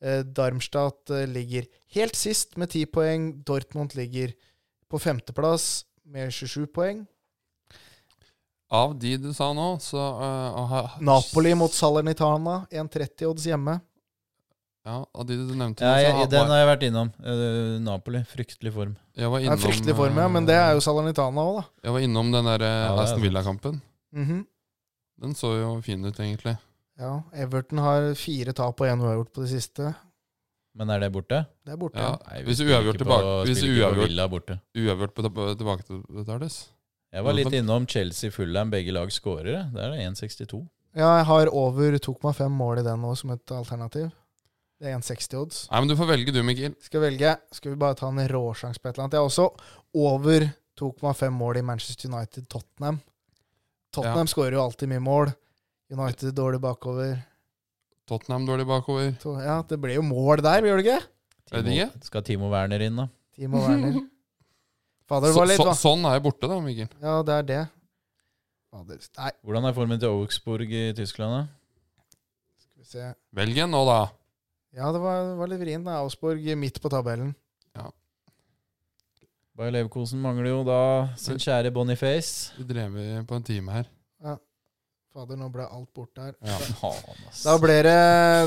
C: Eh, Darmstadt eh, ligger helt sist med 10 poeng. Dortmund ligger på femteplass med 27 poeng.
B: Av de du sa nå, så eh, har-
C: Napoli mot Salernitana, 1,30 odds hjemme.
B: Ja, av de du nevnte
A: ja,
B: nå, så
A: jeg,
B: har
A: den
B: bare-
A: har jeg vært innom. Eh, Napoli. Fryktelig form.
B: jeg var
C: Det er
B: innom,
C: fryktelig form, ja, men det er jo Salernitana òg, da.
B: Jeg var innom den der
A: Ja,
B: eh,
A: det er
B: Aston
A: sant.
B: Villa-kampen.
C: Mhm.
B: Den så jo fin ut, egentlig.
C: Ja, Everton har fire tap og én uavgjort på det siste.
A: Men er det borte?
C: Det er borte.
B: Ja.
C: Ja.
A: Nei,
B: Hvis
A: spiller
B: uavgjort
A: ikke
B: tilbake-
A: på-
B: hvis
A: spiller ikke på
B: uavgjort-
A: Villa borte.
B: Uavgjort på tilba- tilbake til betales.
A: Jeg var litt
B: Hvorfor?
A: innom Chelsea Fulham, begge lag skårer. jeg. Der er det 1,62.
C: jeg har over 2,5 mål i den nå som et alternativ. Det er 1,60 odds.
B: Nei, men du får velge du, Mikkel.
C: Skal velge. Skal vi bare ta en råsjanse på et eller annet? Jeg er også over 2,5 mål i Manchester United-Tottenham. Tottenham skårer jo alltid mye mål. United dårlig bakover.
B: Tottenham dårlig bakover.
C: To- Ja, det ble jo mål der, gjør det ikke?
B: Vet
A: Timo, skal Timo Werner inn, da?
C: Timo Werner.
B: [LAUGHS]
C: Fader,
B: Så,
C: det var litt
B: så,
C: va-
B: sånn er jeg borte, da, Mikkel.
C: Ja, det er det. Fader. Nei,
A: Hvordan er formen til Augsburg i Tyskland, da?
C: skal vi se.
B: Velg en nå, da.
C: Ja, det var, det var litt vrient. da. Augsburg midt på tabellen.
A: Bayer Leverkosen mangler jo da sin kjære Boniface.
B: Vi drev på en time her.
C: Fader, nå ble alt borte her.
B: Ja.
A: Faen, ass.
C: Da ble det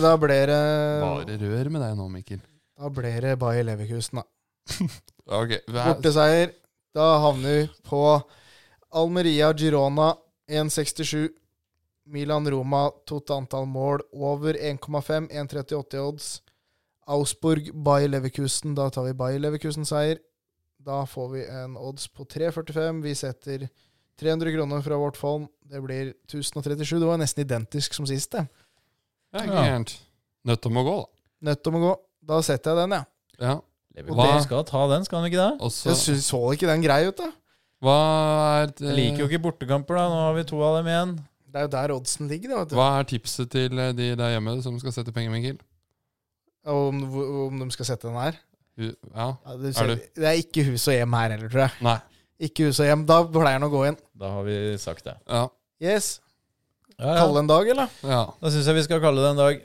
C: Da ble det
B: Bare rør med deg nå, Mikkel.
C: Da ble det Bayer Leverkusen, da.
B: Ok, hva er-
C: Borteseier. Da havner vi på Almeria Girona 1,67. Milan Roma totalt antall mål over 1,5. 1,38 i odds. Augsburg Bayer Leverkusen. Da tar vi Bayer Leverkusen-seier. Da får vi en odds på 3,45. Vi setter 300 kroner fra vårt fond. Det blir 1037. Det var nesten identisk som sist, det.
B: Det er ikke gærent. Nødt om å gå,
C: Nødt om å gå. Da setter jeg den, jeg. Ja.
B: da. Ja.
A: Leverkosen skal ta den, skal han ikke det?
B: Og så
C: Jeg synes, så ikke den grei ut, da.
B: Hva er
A: Jeg liker jo ikke bortekamper, da. Nå har vi to av dem igjen.
C: Det er jo der oddsen ligger, da. vet du.
B: Hva er tipset til eh, de der hjemme som skal sette penger, Mikkel?
C: Om, om de skal sette den her?
B: Hu- Ja.
C: Ja, det,
B: Er du-
C: det er ikke hus og hjem her heller, tror jeg.
B: Nei.
C: Ikke hus og hjem. Da pleier han å gå inn.
A: Da har vi sagt det.
B: Ja.
C: Yes.
A: Ja, ja.
C: Kalle en dag, eller?
B: ja.
A: Da syns jeg vi skal kalle det en dag.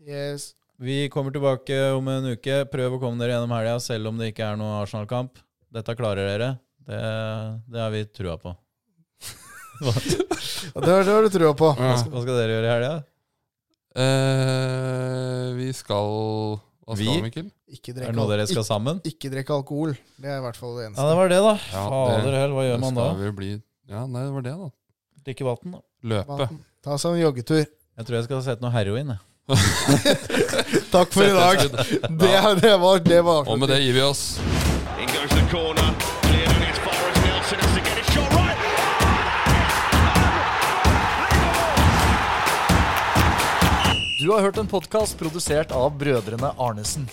C: Yes.
A: Vi kommer tilbake om en uke. Prøv å komme dere gjennom helga, selv om det ikke er noen Arsenal-kamp. Dette klarer dere. Det, det har vi trua på. Hva,
C: Ja, Det har det har du trua på.
B: ja.
A: hva skal, hva skal dere gjøre i helga?
B: Eh, vi skal Hva skal
A: Vi?
B: vi, Mikkel?
C: Ikke
A: Er
C: drikke,
A: det noe dere
C: al-
A: skal sammen?
C: ikke, ikke drikke alkohol. Det er i hvert fall det
A: Ja,
C: eneste.
A: det var det, da.
B: Ja,
A: Fader
B: det-
A: hell, hva gjør
B: Det
A: man da?
B: skal vel bli Ja, nei, det var det, da.
A: Drikke vann, da.
B: Løpe.
C: Vann. Ta seg en joggetur.
A: Jeg tror jeg skal sette noe heroin. Jeg.
C: Takk for i dag. [LAUGHS] Det, det var det. Var
B: Og med det gir vi oss.
D: In goes the corner. Cleared and it's Forrest Nelson has to get it shot right.
E: Du har hørt en podkast produsert av brødrene Arnesen.